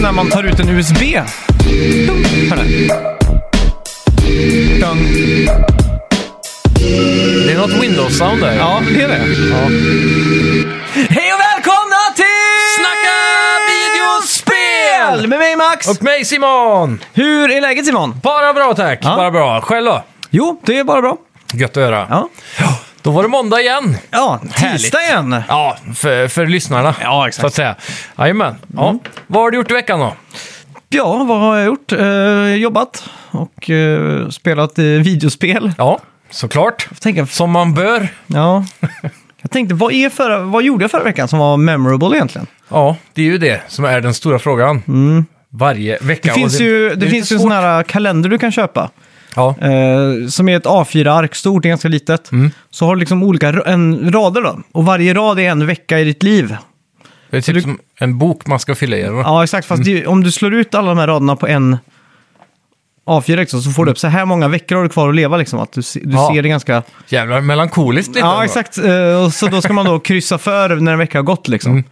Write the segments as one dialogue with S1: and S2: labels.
S1: när man tar ut en USB. Hörru. Dong.
S2: Det är något Windows-sound där.
S1: Ja, det är det. Hej och välkomna till
S2: Snacka videospel!
S1: Med mig Max!
S2: Och mig Simon!
S1: Hur är läget Simon?
S2: Bara bra tack,
S1: Ja.
S2: bara bra. Själv då?
S1: Jo, det är bara bra.
S2: Gött att höra.
S1: Ja,
S2: Då var det måndag igen.
S1: ja
S2: Härligt.
S1: tisdag igen.
S2: Ja, för, för lyssnarna.
S1: Ja,
S2: Så att säga. Jajamän. Ja. Vad har du gjort i veckan då?
S1: Mm. Ja, vad har jag gjort? Eh, jobbat och eh, spelat eh, videospel.
S2: Ja, såklart.
S1: Jag, tänker,
S2: Som man bör.
S1: ja. jag tänkte, vad, är förra, vad gjorde jag förra veckan som var memorable egentligen?
S2: Ja, det är ju det som är den stora frågan. Varje vecka.
S1: Mm. Det finns
S2: Och
S1: ju,
S2: är
S1: det
S2: lite
S1: finns ju
S2: svårt.
S1: sån här kalender du kan köpa.
S2: Ja.
S1: Eh, som är ett A4-ark, stort, det är ganska litet. Så har du liksom olika ra- en, rader då. Och varje rad är en vecka i ditt liv.
S2: Det är typ som en bok man ska fylla i. eller vad?
S1: Ja, exakt. Fast det, om du slår ut alla de här raderna på en A4 liksom, så får du upp så här många veckor har du kvar att leva. Liksom, att du, se- du
S2: Ja.
S1: ser det ganska...
S2: Jävlar melankoliskt lite.
S1: Ja,
S2: ändå.
S1: exakt. Eh, och så då ska man då kryssa för när en vecka har gått liksom.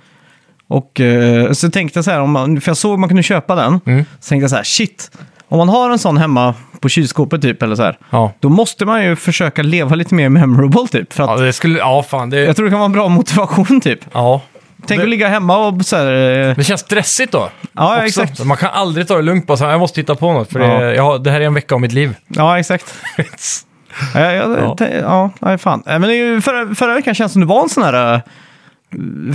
S1: Och eh, så tänkte jag så här, om man, för jag såg att man kunde köpa den. Så tänkte jag så här, shit. Om man har en sån hemma på kylskåpet typ, eller så här.
S2: Ja.
S1: Då måste man ju försöka leva lite mer memorable typ. För att
S2: Ja, det skulle... Ja, fan. Det...
S1: jag tror det kan vara en bra motivation typ.
S2: Ja.
S1: Tänk
S2: Det-
S1: att ligga hemma och så här... eh,
S2: Det känns stressigt då.
S1: Ja,
S2: också.
S1: exakt.
S2: Man kan aldrig ta det lugnt bara så här, jag måste hitta på något för
S1: Ja.
S2: det, jag har, det här är en vecka av mitt liv.
S1: Ja, exakt. Ja, jag,
S2: Ja.
S1: ja. ja nej, fan. Äh, Men det är ju förra, förra veckan känns det som det var en sån här... äh,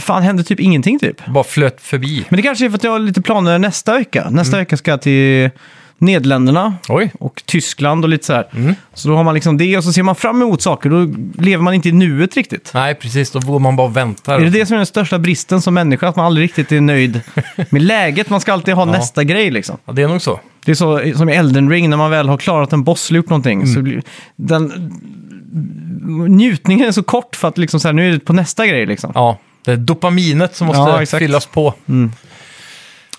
S1: Fan, hände typ ingenting typ.
S2: bara flöt förbi.
S1: Men det kanske är för att jag har lite planer nästa vecka. Nästa
S2: Mm.
S1: vecka ska jag till Nederländerna
S2: Oj.
S1: och Tyskland och lite så här.
S2: Mm.
S1: Så då har man liksom det och så ser man fram emot saker. Då lever man inte i nuet riktigt.
S2: Nej, precis. Då går man bara och väntar.
S1: Är det det som är den största bristen som människa? Att man aldrig riktigt är nöjd med läget. Man ska alltid ha nästa grej liksom.
S2: Ja, det är nog så.
S1: Det är så som i Elden Ring, när man väl har klarat en boss eller gjort någonting. Så blir, den, njutningen är så kort för att liksom så här, nu är det på nästa grej liksom. Ja,
S2: Ja, det är dopaminet som
S1: Ja,
S2: måste
S1: exakt.
S2: fyllas på.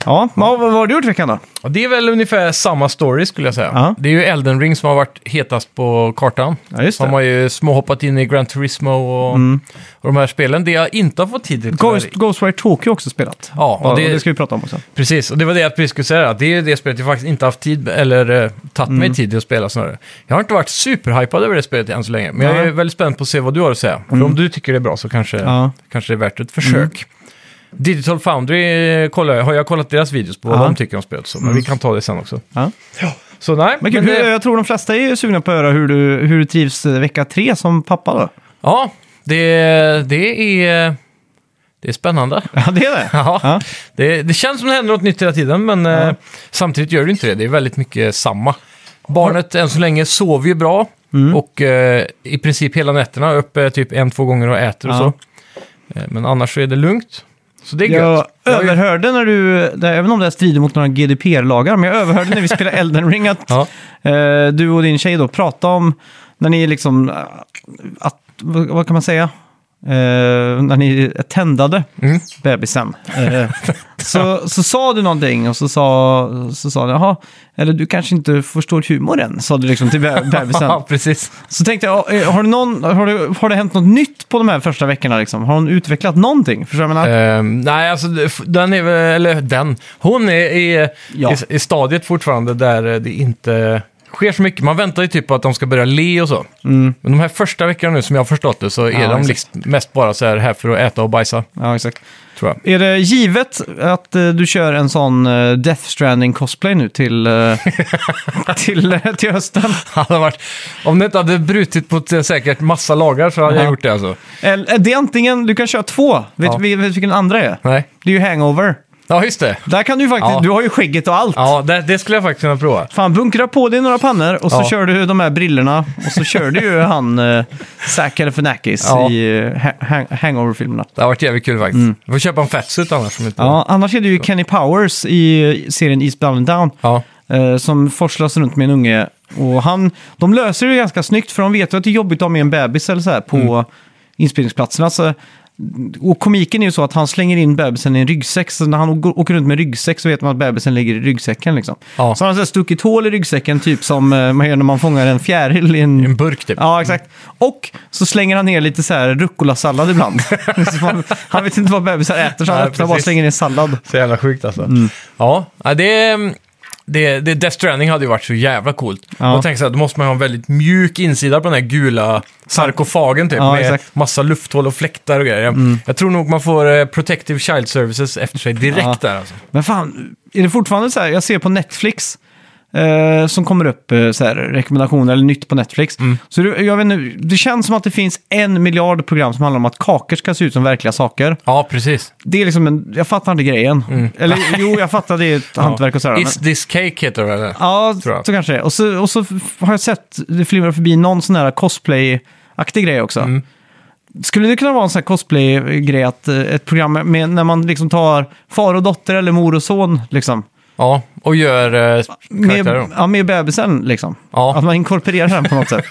S1: men vad, vad har du gjort i veckan då?
S2: Och det är väl ungefär samma story skulle jag säga.
S1: Ja.
S2: Det är ju Elden Ring som har varit hetast på kartan.
S1: Ja, just
S2: De
S1: det. Mm.
S2: har ju småhoppat in i Gran Turismo och, och de här spelen. Det jag inte har fått tid till.
S1: Ghost,
S2: tyvärr-
S1: Ghostwire Tokyo har också spelat.
S2: Ja, och
S1: och
S2: det-
S1: det... ska vi prata om också.
S2: Precis, och det var det jag precis skulle säga. att Det är ju det spelet jag faktiskt inte haft tid, eller eh, tagit mig
S1: Mm.
S2: tid till att spela snarare. Jag har inte varit superhypad över det spelet än så länge, men jag är
S1: Nej. Mm.
S2: väldigt spänd på att se vad du har att säga. För om du tycker det är bra så kanske,
S1: Ja. Mm.
S2: kanske det är värt ett försök. Digital Foundry eh, kollar, jag- har jag kollat deras videos på vad
S1: Ja. Mm.
S2: de tycker om spelet, så, men vi kan ta det sen också.
S1: Ja.
S2: Så nej,
S1: Men, kul,
S2: men,
S1: hur,
S2: eh,
S1: jag tror de flesta är ju sugna på att höra hur du, hur du trivs eh, vecka tre som pappa då.
S2: ja, det, det, är, det är spännande.
S1: Ja, det är det.
S2: Ja.
S1: Ja.
S2: Det, det känns som det händer något nytt hela tiden, men eh, samtidigt gör det inte det. Det är väldigt mycket samma. Barnet än så länge sover ju bra
S1: Mm.
S2: och eh, i princip hela nätterna är uppe typ en, två gånger och äter och
S1: Ja.
S2: så. Eh, men annars så är det lugnt. Så det är
S1: Jag
S2: gött. Jag har ju-
S1: överhörde när du, det, även om det här strider mot några GDPR-lagar, men jag överhörde när vi spelade Elden Ring att
S2: Ja.
S1: Eh, du och din tjej då pratar om när ni liksom, eh, att, vad, vad kan man säga? Eh, när ni tändade
S2: Mm.
S1: bebisen. Eh, så, så sa du någonting och så sa, så sa du, jaha, eller du kanske inte förstår humoren, sa du liksom till be- bebisen.
S2: Ja, precis.
S1: Så tänkte jag, eh, har, du någon, har, du, har det hänt något nytt på de här första veckorna liksom? Har hon utvecklat någonting? Förstår du vad jag menar?
S2: Eh, nej, alltså det- f- den är väl, eller den, hon är i,
S1: Ja.
S2: i, i stadiet fortfarande där eh, det inte sker så mycket. Man väntar ju typ på att de ska börja le och så.
S1: Mm,
S2: Men de här första veckorna nu, som jag har förstått det, så är
S1: Ja,
S2: de
S1: exakt.
S2: liksom mest bara så här, här för att äta och bajsa,
S1: Ja, exakt.
S2: tror jag.
S1: Är det givet att eh, du kör en sån eh, Death Stranding cosplay nu till, eh, till, eh, till hösten?
S2: Hade varit, om det inte hade brutit på eh, säkert massa lagar så hade jag
S1: Ja.
S2: gjort det alltså.
S1: Eller, eh, det är antingen, du kan köra två. Vet
S2: Ja.
S1: du vet, vilken den andra är?
S2: Nej.
S1: Det är ju hangover.
S2: Ja, just det.
S1: Där kan du ju faktiskt,
S2: Ja.
S1: du har ju skägget och allt.
S2: Ja, det, det skulle jag faktiskt kunna prova.
S1: Fan, bunkra på dig några pannor och så
S2: Ja.
S1: kör du de här brillorna och så kör du ju han eh, Zac Galifianakis
S2: Ja.
S1: i eh, ha- hang- hangover-filmerna.
S2: Det har varit jävligt kul faktiskt. Jag får köpa en fatsuit annars. Som inte...
S1: Ja, annars är det ju Kenny Powers i eh, serien Eastbound and Down.
S2: ja.
S1: eh, som forslas runt med en unge. Och han, de
S2: Mm.
S1: löser det ganska snyggt för de vet ju att det är jobbigt att ha med en bebis eller så här på inspelningsplatserna. Så Och komiken är ju så att han slänger in bebisen i en ryggsäck, så när han å- åker runt med ryggsäck så vet man att bebisen ligger i ryggsäcken liksom.
S2: Ja.
S1: Så har han så här stuckit hål i ryggsäcken, typ som eh, man gör när man fångar en fjäril i
S2: I en
S1: en...
S2: burk typ.
S1: Ja, exakt. Och så slänger han ner lite så här rucola-sallad ibland. Så man- han vet inte vad bebisar äter, så han
S2: Nej,
S1: öppnar bara och
S2: precis.
S1: slänger ner sallad.
S2: Så jävla sjukt alltså.
S1: Mm.
S2: Ja, ja, det, det, det Death Stranding hade ju varit så jävla coolt.
S1: Ja.
S2: Och tänk så här, då måste man ju ha en väldigt mjuk insida på den här gula sarkofagen typ.
S1: Ja,
S2: med
S1: exakt. Mm.
S2: massa lufthål och fläktar och grejer. Jag tror nog man får eh, Protective Child Services efter sig direkt
S1: Ja.
S2: där alltså.
S1: Men fan, är det fortfarande så här, jag ser på Netflix, eh, som kommer upp eh, så här, rekommendationer eller nytt på Netflix.
S2: Mm.
S1: Så det, jag vet nu, det känns som att det finns en miljard program som handlar om att kakor ska se ut som verkliga saker.
S2: Ja, precis.
S1: Det är liksom en, jag fattar inte grejen. Eller jo, jag fattar det är ett hantverk och sådär. men-
S2: Mm. Is this cake heter det väl? eller?
S1: Ja,
S2: tror jag.
S1: så kanske det är. Och så, och så f- har jag sett, det flimrar förbi någon sån här cosplay-aktig grej också.
S2: Mm.
S1: Skulle det kunna vara en sån här cosplay-grej, att eh, ett program med, när man liksom tar far och dotter eller mor och son, liksom.
S2: Ja, och gör eh,
S1: Med,
S2: karaktärer. då.
S1: ja, med bebisen liksom.
S2: Ja.
S1: Att man inkorporerar den på något sätt.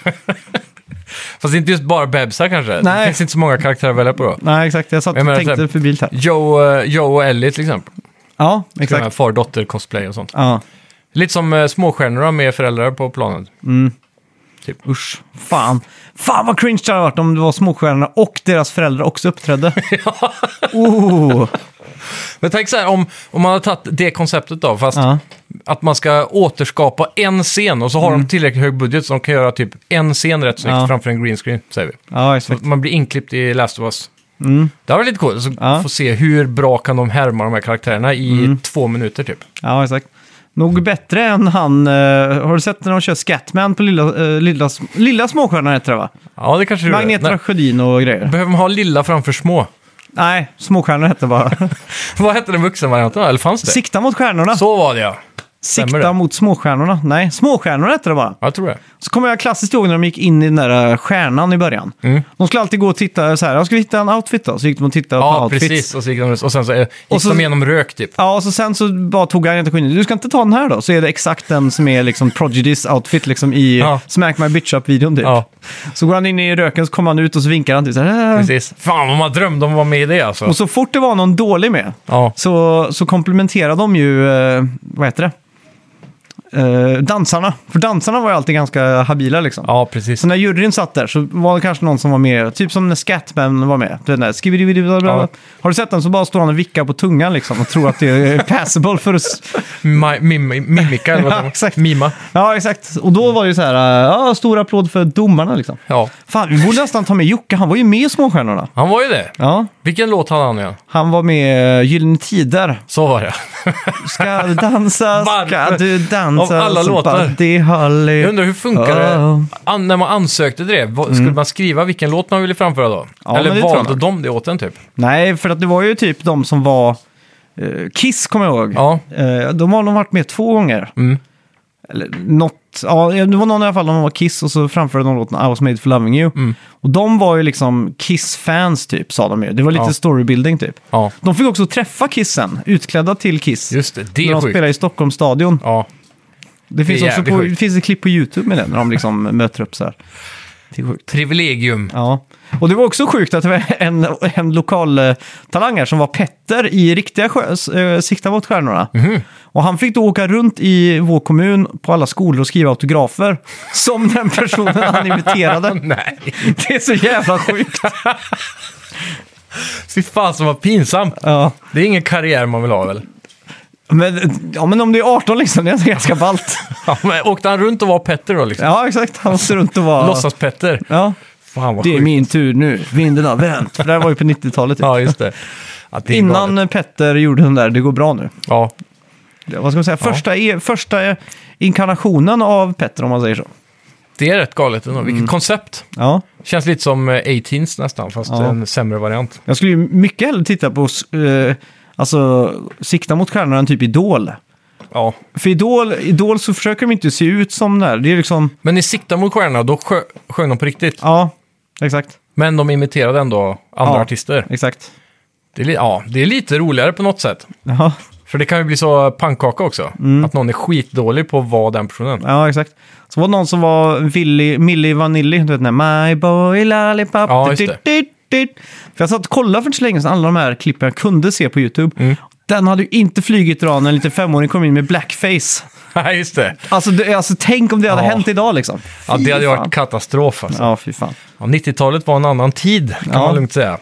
S2: Fast inte just bara bebisar kanske. Det
S1: Nej.
S2: finns inte så många karaktärer att välja på då.
S1: Nej, exakt. Jag satt
S2: Jag
S1: och
S2: menar,
S1: tänkte
S2: typ-
S1: förbi här.
S2: Joe, eh, Joe och Ellie till exempel.
S1: Ja,
S2: Exakt.
S1: exakt.
S2: Far-dotter-cosplay och sånt.
S1: Ja.
S2: Lite som eh, småstjärnorna med föräldrar på planet.
S1: Usch, fan. Fan vad cringe det hade varit om det var småstjärnorna och deras föräldrar också uppträdde. oh.
S2: Men tänk så här, om, om man har tagit det konceptet då, fast
S1: ja.
S2: att man ska återskapa en scen och så har de tillräckligt hög budget så de kan göra typ en scen rätt snyggt
S1: Mm. Ja.
S2: framför en green screen, säger vi.
S1: ja,
S2: Så
S1: exakt.
S2: att man blir inklippt i Last of Us.
S1: Mm.
S2: Det var lite coolt, så
S1: Ja. Mm.
S2: få se hur bra kan de härma de här karaktärerna i två minuter typ.
S1: Ja, exakt. Nog bättre än han... eh, har du sett när de kör Scatman på Lilla, eh, lilla, Sm- lilla Småstjärnan heter det va?
S2: Ja, det kanske du
S1: Magnet
S2: Nej,
S1: Sjödin och grejer.
S2: Behöver man ha lilla framför små?
S1: Nej, Småstjärnan hette bara.
S2: Vad hette den vuxenvarianten då? Eller fanns det?
S1: Sikta mot stjärnorna.
S2: Så var det ja. stämmer
S1: Sikta
S2: det?
S1: mot småstjärnorna. Nej, småstjärnorna hette det bara.
S2: Ja, Jag tror det.
S1: Så kommer jag klassiskt ihåg när de gick in i den där eh, stjärnan i början.
S2: Mm.
S1: De skulle alltid gå och titta så här, "Ja, ska vi hitta en outfit då? Så gick de och tittade på
S2: Ja,
S1: outfits.
S2: precis. Och, så gick de, och sen så eh, gick
S1: Och så-
S2: de igenom rök typ.
S1: Ja, och så sen så bara tog han inte skinn. Du ska inte ta den här då? Så är det exakt den som är liksom Prejudice-outfit liksom i
S2: Ja.
S1: Smack My Bitch-up-videon typ.
S2: Ja.
S1: Så går han in i röken, så kommer han ut och så vinkar han till så här. "Äh."
S2: Precis. Fan vad man drömde om att vara med i det alltså.
S1: Och så fort det var någon dålig med
S2: Ja.
S1: så, så komplementerade de ju, eh, vad heter det? Eh, dansarna. För dansarna var ju alltid ganska habila liksom.
S2: ja, precis.
S1: Så när juryn satt där så var det kanske någon som var med, typ som när Scatman var med. Den där, skibidi, bla, bla.
S2: Ja.
S1: Har du sett den så bara står han och vickar på tungan liksom och tror att det är passable för att... s-
S2: Ma- mim- mimika eller vad
S1: Ja,
S2: det var.
S1: exakt.
S2: Mima.
S1: Ja, exakt. Och då var det ju så här, eh, ja, stor applåd för domarna liksom.
S2: Ja.
S1: Fan, vi borde nästan ta med Jocke, han var ju med i Småstjärnorna.
S2: Han var ju det.
S1: Ja,
S2: Vilken låt hade han igen?
S1: han var med i Gyllene Tider.
S2: Så var det.
S1: Ska du dansa, ska
S2: Varför?
S1: du dansa.
S2: Av alla
S1: så
S2: låtar.
S1: Buddy Holly.
S2: Jag undrar hur funkar det?
S1: Ja. Mm.
S2: An- när man ansökte till det, vad- skulle man skriva vilken låt man ville framföra då?
S1: Ja, men
S2: eller
S1: det tror jag
S2: valde
S1: nog.
S2: de det åt en typ?
S1: Nej, för att det var ju typ de som var... eh, Kiss kommer jag ihåg.
S2: Ja.
S1: Eh, de har nog varit med två gånger.
S2: Mm.
S1: Eller något, ja, det var någon i alla fall, de var Kiss och så framförde de låten I was made for loving you.
S2: Mm.
S1: Och de var ju liksom Kiss-fans typ, sa de ju. Det var lite
S2: Ja.
S1: storybuilding typ.
S2: Ja,
S1: De fick också träffa Kissen, utklädda till Kiss.
S2: just det. Det
S1: när
S2: är
S1: de
S2: sjukt.
S1: spelade i Stockholmsstadion.
S2: Ja.
S1: Det finns,
S2: Det är
S1: också
S2: jävligt
S1: på,
S2: sjukt.
S1: det finns ett klipp på YouTube med det, när de liksom möter upp så här. Det är sjukt.
S2: Privilegium.
S1: Ja, och det var också sjukt att det var en, en lokal eh, talang här som var Petter i riktiga sjö, eh, Sikta mot stjärnorna.
S2: Mhm.
S1: Och han fick då åka runt i vår kommun på alla skolor och skriva autografer som den personen han imiterade.
S2: Nej,
S1: Det är så jävla sjukt.
S2: fy fan som var pinsamt.
S1: Ja.
S2: Det är ingen karriär man vill ha väl?
S1: Men, ja, men om det är 18 liksom, det är ganska ballt.
S2: Ja, men åkte han runt och var Petter då liksom?
S1: Ja, exakt. Han måste runt och vara...
S2: Låtsas-Petter.
S1: Ja.
S2: Fan vad
S1: Det är
S2: sjukt.
S1: min tur nu, vinden har vänt. För det här var ju på 90-talet. Typ.
S2: Ja, just det. Ja, det är
S1: Innan
S2: galet.
S1: Petter gjorde den där, det går bra nu.
S2: Ja,
S1: Det- vad ska man säga,
S2: Ja.
S1: första, e, första eh, inkarnationen av Petter om man säger så.
S2: det är rätt galet ändå.
S1: Mm.
S2: Vilket koncept.
S1: Ja.
S2: Känns lite som eh, 18s nästan, fast
S1: Ja.
S2: en sämre variant.
S1: Jag skulle ju mycket hellre titta på, eh, alltså, sikta mot stjärnorna än typ Idol.
S2: Ja.
S1: För Idol, Idol så försöker de inte se ut som där. Det är liksom,
S2: Men i Sikta mot stjärnorna, då sjö, sjöng de på riktigt.
S1: ja, exakt.
S2: Men de imiterade ändå andra
S1: Ja.
S2: artister.
S1: Exakt.
S2: Det är, li- ja, det är lite roligare på något sätt.
S1: Ja,
S2: För det kan ju bli så pannkaka också.
S1: Mm.
S2: Att någon är skitdålig på att vara den personen.
S1: ja, exakt. Så var det någon som var Willy, Milli Vanilli, du vet den där My Boy Lollipop.
S2: Ja, just det.
S1: Du, du, dit. För jag satt och kollade för inte så länge sedan alla de här klippen jag kunde se på YouTube.
S2: Mm.
S1: Den hade ju inte flugit idag när en liten femåring kom in med blackface.
S2: Nej, just det.
S1: Alltså, det, alltså tänk om det hade
S2: Ja.
S1: hänt idag liksom.
S2: Ja,
S1: Fy
S2: det hade ju
S1: fan.
S2: varit katastrof alltså.
S1: Ja, fy fan.
S2: Ja, 90-talet var en annan tid, kan
S1: Ja.
S2: man lugnt säga.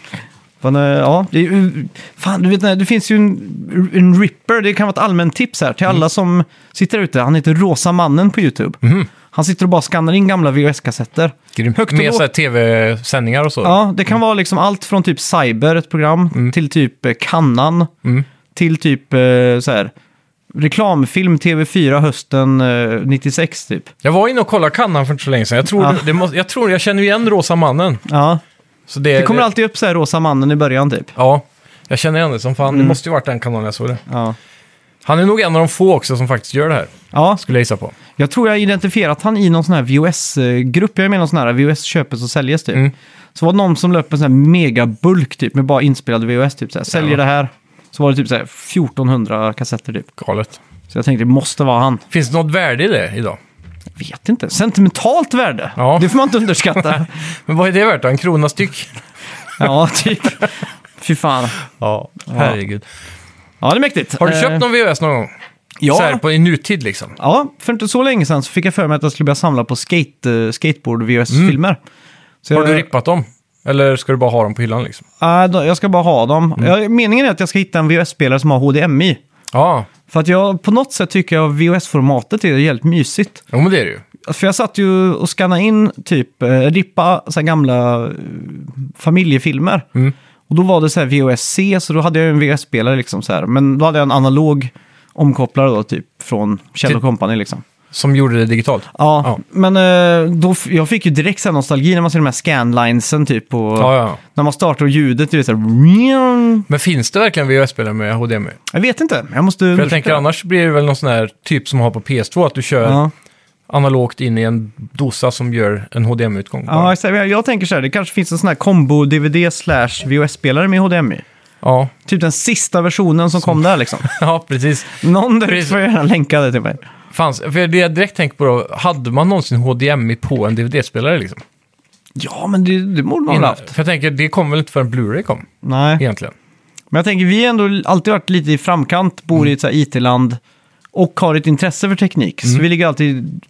S1: Men, eh, ja, det, är ju- fan, du vet, när- det finns ju en, en ripper, det kan vara ett allmänt tips här
S2: Mm.
S1: till alla som sitter ute. Han heter Rosa Mannen på YouTube.
S2: Mhm.
S1: Han sitter och bara skannar in gamla VHS-kassetter.
S2: Grymt.
S1: Högt och
S2: Med
S1: lågt.
S2: så här tv-sändningar och så.
S1: Ja, det kan vara liksom allt från typ Cyber, ett program,
S2: Mm.
S1: till typ eh, Kannan, till typ eh, så här, reklamfilm TV4 hösten eh, 96 typ.
S2: Jag var inne och kollade kannan för inte så länge sedan. Jag tror,
S1: Ja.
S2: det, det måste, jag, tror jag känner igen Rosa Mannen.
S1: Ja,
S2: Så det,
S1: det kommer alltid upp så här Rosa Mannen i början typ.
S2: Ja, jag känner igen det som fan.
S1: Mm.
S2: Det måste ju varit den kanalen jag såg det.
S1: Ja.
S2: Han är nog en av de få också som faktiskt gör det här,
S1: Ja,
S2: skulle jag gissa på.
S1: Jag tror jag har identifierat han i någon sån här VOS-grupp. Jag är med i någon sån här VOS köpes och säljes typ.
S2: Mm.
S1: Så var det någon som löp en sån här megabulk typ med bara inspelade VOS typ. Så här, Säljer
S2: Ja.
S1: det här. Så var det typ så här 1400 kassetter typ.
S2: Galet.
S1: Så jag tänkte det måste vara han.
S2: Finns det något värde i det idag?
S1: Jag vet inte. Sentimentalt värde.
S2: Ja.
S1: Det får man inte underskatta.
S2: Men vad är det värt då? En krona styck?
S1: ja, typ. Fy fan.
S2: Ja, herregud.
S1: Ja, det är mäktigt.
S2: Har du
S1: Eh,
S2: köpt någon VHS någon gång?
S1: Ja.
S2: Så här på, i nutid liksom?
S1: Ja, för inte så länge sedan så fick jag för mig att jag skulle börja samla på skate, eh, skateboard-VHS-filmer. Så
S2: Mm. Har
S1: jag-
S2: du rippat dem? Eller ska du bara ha dem på hyllan liksom?
S1: Nej, då- jag ska bara ha dem.
S2: Mm.
S1: Ja, meningen är att jag ska hitta en VHS-spelare som har HDMI.
S2: Ja,
S1: För att jag på något sätt tycker jag VHS-formatet är jävligt mysigt.
S2: jo men det är det ju.
S1: För jag satt ju och skannade in typ eh, rippa så här gamla eh, familjefilmer.
S2: Mm.
S1: Och då var det så här VHS-C, så då hade jag ju en VHS-spelare liksom så här. Men då hade jag en analog omkopplare då typ från Kjell
S2: Till-
S1: Company liksom.
S2: Som gjorde det digitalt.
S1: Ja,
S2: Ja.
S1: men eh, då, f- jag fick ju direkt så här nostalgi när man ser de här scanlinesen typ på...
S2: Ja, ja.
S1: När man startar och ljudet, du vet så här...
S2: Men finns det verkligen VHS-spelare med HDMI?
S1: Jag vet inte. Jag måste...
S2: För jag tänker annars blir det väl någon sån här typ som man har på PS2, att du kör
S1: Ja,
S2: analogt in i en dosa som gör en HDMI-utgång.
S1: ja jag, säger- jag tänker så här, det kanske finns en sån här combo-DVD slash VHS-spelare med HDMI.
S2: ja.
S1: Typ den sista versionen som kom där liksom.
S2: ja, precis.
S1: Någon där ute
S2: Precis.
S1: får gärna länka det till mig.
S2: Fanns, för det jag direkt tänker på då, hade man någonsin HDMI på en DVD-spelare liksom?
S1: Ja, men det, det borde man väl
S2: Innan-
S1: haft.
S2: För jag tänker, det kom väl inte förrän Blu-ray kom,
S1: Nej,
S2: egentligen?
S1: men jag tänker vi har ändå alltid varit lite i framkant, bor i ett så här IT-land och har ett intresse för teknik. Så vi ligger alltid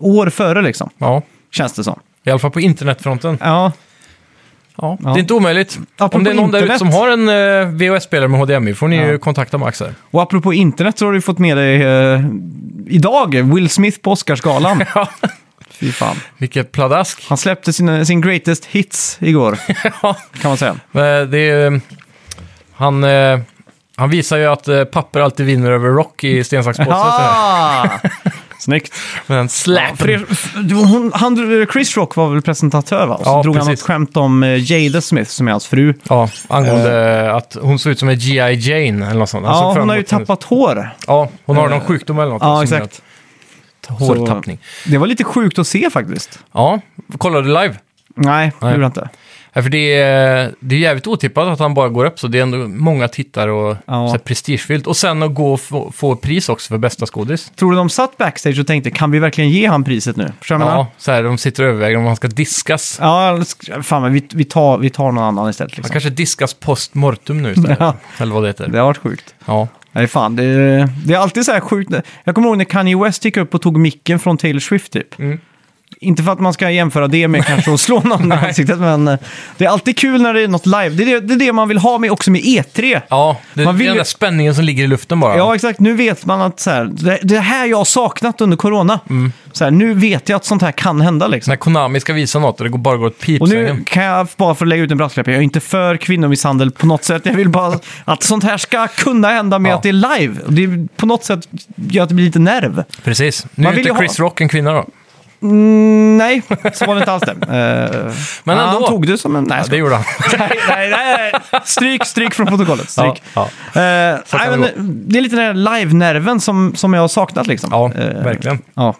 S1: år före liksom,
S2: Ja,
S1: känns det som.
S2: i alla fall på internetfronten.
S1: Ja,
S2: Ja,
S1: Ja.
S2: Det är inte omöjligt.
S1: Apropå
S2: Om det är någon där ute
S1: internet.
S2: som har en eh, VHS-spelare med HDMI får ni
S1: Ja.
S2: ju kontakta Max här.
S1: och apropå internet så har du fått med dig eh, idag Will Smith på Oscarsgalan.
S2: Ja.
S1: Fy fan.
S2: Vilket pladask.
S1: Han släppte sin, sin greatest hits igår,
S2: Ja.
S1: kan man säga.
S2: Men det är, eh, han, eh, han visar ju att eh, papper alltid vinner över rock i sten, sax, påse. så här.
S1: Ah! Snyggt.
S2: Med den
S1: Ja, för
S2: släpen.
S1: er, f- det var hon, han, Chris Rock var väl presentatör va? Och så
S2: Ja,
S1: drog han
S2: precis.
S1: ett skämt om eh, Jada Smith som är hans fru.
S2: Ja, angående att hon såg ut som en G.I. Jane eller något sånt. Han såg
S1: Eh. Ja,
S2: fram
S1: hon har ju
S2: emot henne.
S1: tappat hår.
S2: Ja, hon har någon sjukdom eller något.
S1: Ja,
S2: som gör
S1: exakt.
S2: att- Hårtappning.
S1: Det var lite sjukt att se faktiskt.
S2: Ja, kollade du live?
S1: Nej, det
S2: Nej.
S1: gjorde jag inte.
S2: Ja, för det är, det är jävligt otippat att han bara går upp, så det är ändå många tittare och
S1: Ja.
S2: så här prestigefyllt. Och sen att gå och få, få pris också för bästa skådis.
S1: Tror du de satt backstage och tänkte, kan vi verkligen ge han priset nu? Förstår du vad jag menar?
S2: Ja, så här, de sitter och överväger om han ska diskas.
S1: Ja, sk- fan men vi, vi, tar, vi tar någon annan istället.
S2: Han
S1: Liksom.
S2: kanske diskas post mortem nu istället.
S1: Ja.
S2: Eller vad det heter.
S1: Det har varit sjukt.
S2: Ja.
S1: Nej, fan. Det, det är alltid så här sjukt. Jag kommer ihåg när Kanye West gick upp och tog micken från Taylor Swift typ.
S2: Mm.
S1: Inte för att man ska jämföra det med kanske att slå någon i ansiktet, men eh, det är alltid kul när det är något live. Det är det, det, är det man vill ha med också med E3.
S2: Ja, det,
S1: Man
S2: man
S1: vill
S2: vill... den
S1: ju-
S2: där spänningen som ligger i luften bara.
S1: Ja, exakt. Nu vet man att så här, det, det här jag har saknat under corona.
S2: Mm.
S1: Så här, nu vet jag att sånt här kan hända liksom.
S2: När Konami ska visa något och det går- bara går åt
S1: Och nu
S2: pipsvängen.
S1: kan jag bara få lägga ut en brasklapp. Jag är inte för kvinnomisshandel på något sätt. Jag vill bara att sånt här ska kunna hända med
S2: Ja.
S1: att det är live. Och Det är på något sätt gör att det blir lite nerv.
S2: Precis. Nu
S1: Man
S2: är
S1: vill ju
S2: inte
S1: ha-
S2: Chris Rock en kvinna då.
S1: Mm, nej, så var det inte alls det. Eh,
S2: Men
S1: ja,
S2: ändå.
S1: Han tog det som en... Nej,
S2: Ja,
S1: jag
S2: det gjorde han.
S1: skojar. nej, nej, nej. Stryk, stryk från protokollet.
S2: Ja,
S1: Stryk.
S2: ja.
S1: Eh,
S2: Så
S1: nej,
S2: kan det
S1: men, det är lite den där live-nerven som, som jag har saknat liksom.
S2: Ja,
S1: Eh,
S2: verkligen.
S1: Ja.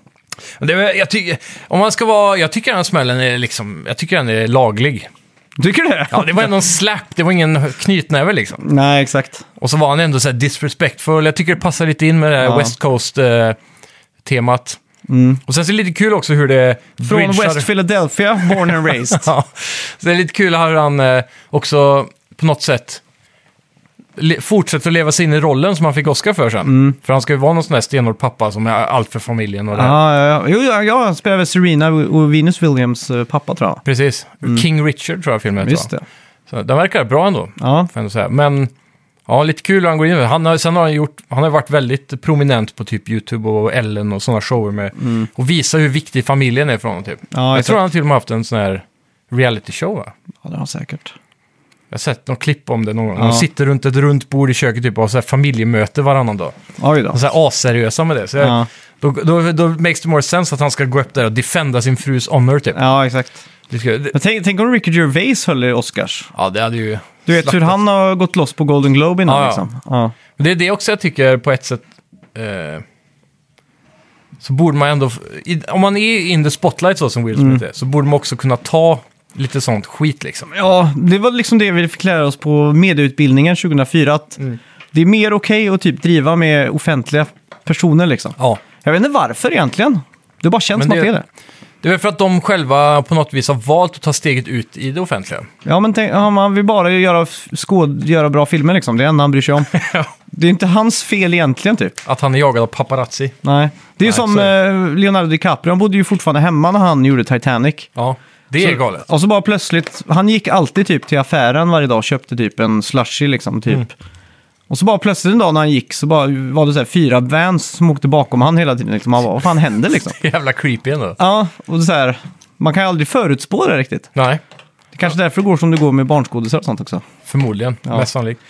S2: Det, var- jag, ty, om man ska vara, jag tycker den här smällen är, liksom, jag tycker den är laglig.
S1: Tycker du det?
S2: Ja, det var ändå en slap, det var ingen knytnäve liksom.
S1: Nej, exakt.
S2: Och så var han ändå så här disrespectful. Jag tycker det passar lite in med det här
S1: Ja.
S2: West Coast-temat. eh, Och sen så är det lite kul också hur det...
S1: Mm. Från
S2: bridgar-
S1: West Philadelphia, born and raised.
S2: Ja. Så det är lite kul hur han eh, också på något sätt le- fortsätter att leva sig in i rollen som han fick Oscar för sen.
S1: Mm.
S2: För han ska ju vara någon sån där stenhård pappa som är allt för familjen och det. här.
S1: Ja, ja, ja. Jo, ja, ja, han spelar väl Serena och Venus Williams eh, pappa tror jag.
S2: Precis. King Richard tror jag filmen heter.
S1: Mm. Just
S2: va?
S1: det.
S2: Så den verkar bra ändå.
S1: Ja.
S2: Får jag ändå säga. Men ja, lite kul hur han går in i det. han har, Sen har han, gjort, han har varit väldigt prominent på typ YouTube och Ellen och sådana shower med. Och visar hur viktig familjen är för honom typ.
S1: Mm. Ja,
S2: jag
S1: exakt.
S2: tror han till och med haft en sån här reality show va?
S1: ja, det har han säkert.
S2: Jag har sett någon klipp om det någon gång.
S1: Ja.
S2: De sitter runt ett runt bord i köket typ, och har så här familjemöte varannan dag.
S1: Oj då.
S2: Och så här asseriösa med det. Så jag,
S1: Ja,
S2: då, då, då makes it more sense att han ska gå upp där och defenda sin frus honor typ.
S1: ja exakt.
S2: Det ska, det,
S1: Men tänk, tänk om Ricky Gervais höll i Oscars.
S2: ja, det hade ju...
S1: Du vet hur
S2: Slaktat.
S1: han har gått loss på Golden Globe innan
S2: Ja, ja.
S1: liksom. Ja.
S2: Men Det är det också jag tycker på ett sätt... Eh, så borde man ändå... i- Om man är in the spotlight så som Will Smith
S1: Mm.
S2: är, så borde man också kunna ta lite sånt skit liksom.
S1: ja, det var liksom det vi fick lära oss på medieutbildningen 2004. Att
S2: Mm.
S1: det är mer okej att typ driva med offentliga personer liksom.
S2: Ja.
S1: Jag vet inte varför egentligen. Det bara känns
S2: Men
S1: som att det
S2: det-
S1: är det.
S2: Det är väl för att de själva på något vis har valt att ta steget ut i det offentliga.
S1: Ja, men tänk, ja, man vill bara göra, f- skåd, göra bra filmer liksom. Det är det enda han bryr sig om. Det är inte hans fel egentligen typ.
S2: Att han är jagad av paparazzi.
S1: Nej. Det är ju
S2: Nej,
S1: som
S2: så
S1: eh, Leonardo DiCaprio, han bodde ju fortfarande hemma när han gjorde Titanic.
S2: Ja, det är galet.
S1: Och så bara plötsligt, han gick alltid typ till affären varje dag och köpte typ en slushy liksom. Typ.
S2: Mm.
S1: Och så bara plötsligt en dag när han gick så bara var det så här fyra vans som åkte bakom han hela tiden. Liksom. Han bara, vad fan händer liksom?
S2: Jävla creepy ändå.
S1: Ja, och det är så här, man kan ju aldrig förutspå det riktigt.
S2: Nej,
S1: Det är kanske därför det går som det går med barnskådisar och sånt också.
S2: förmodligen.
S1: Ja.
S2: Mest sannolikt.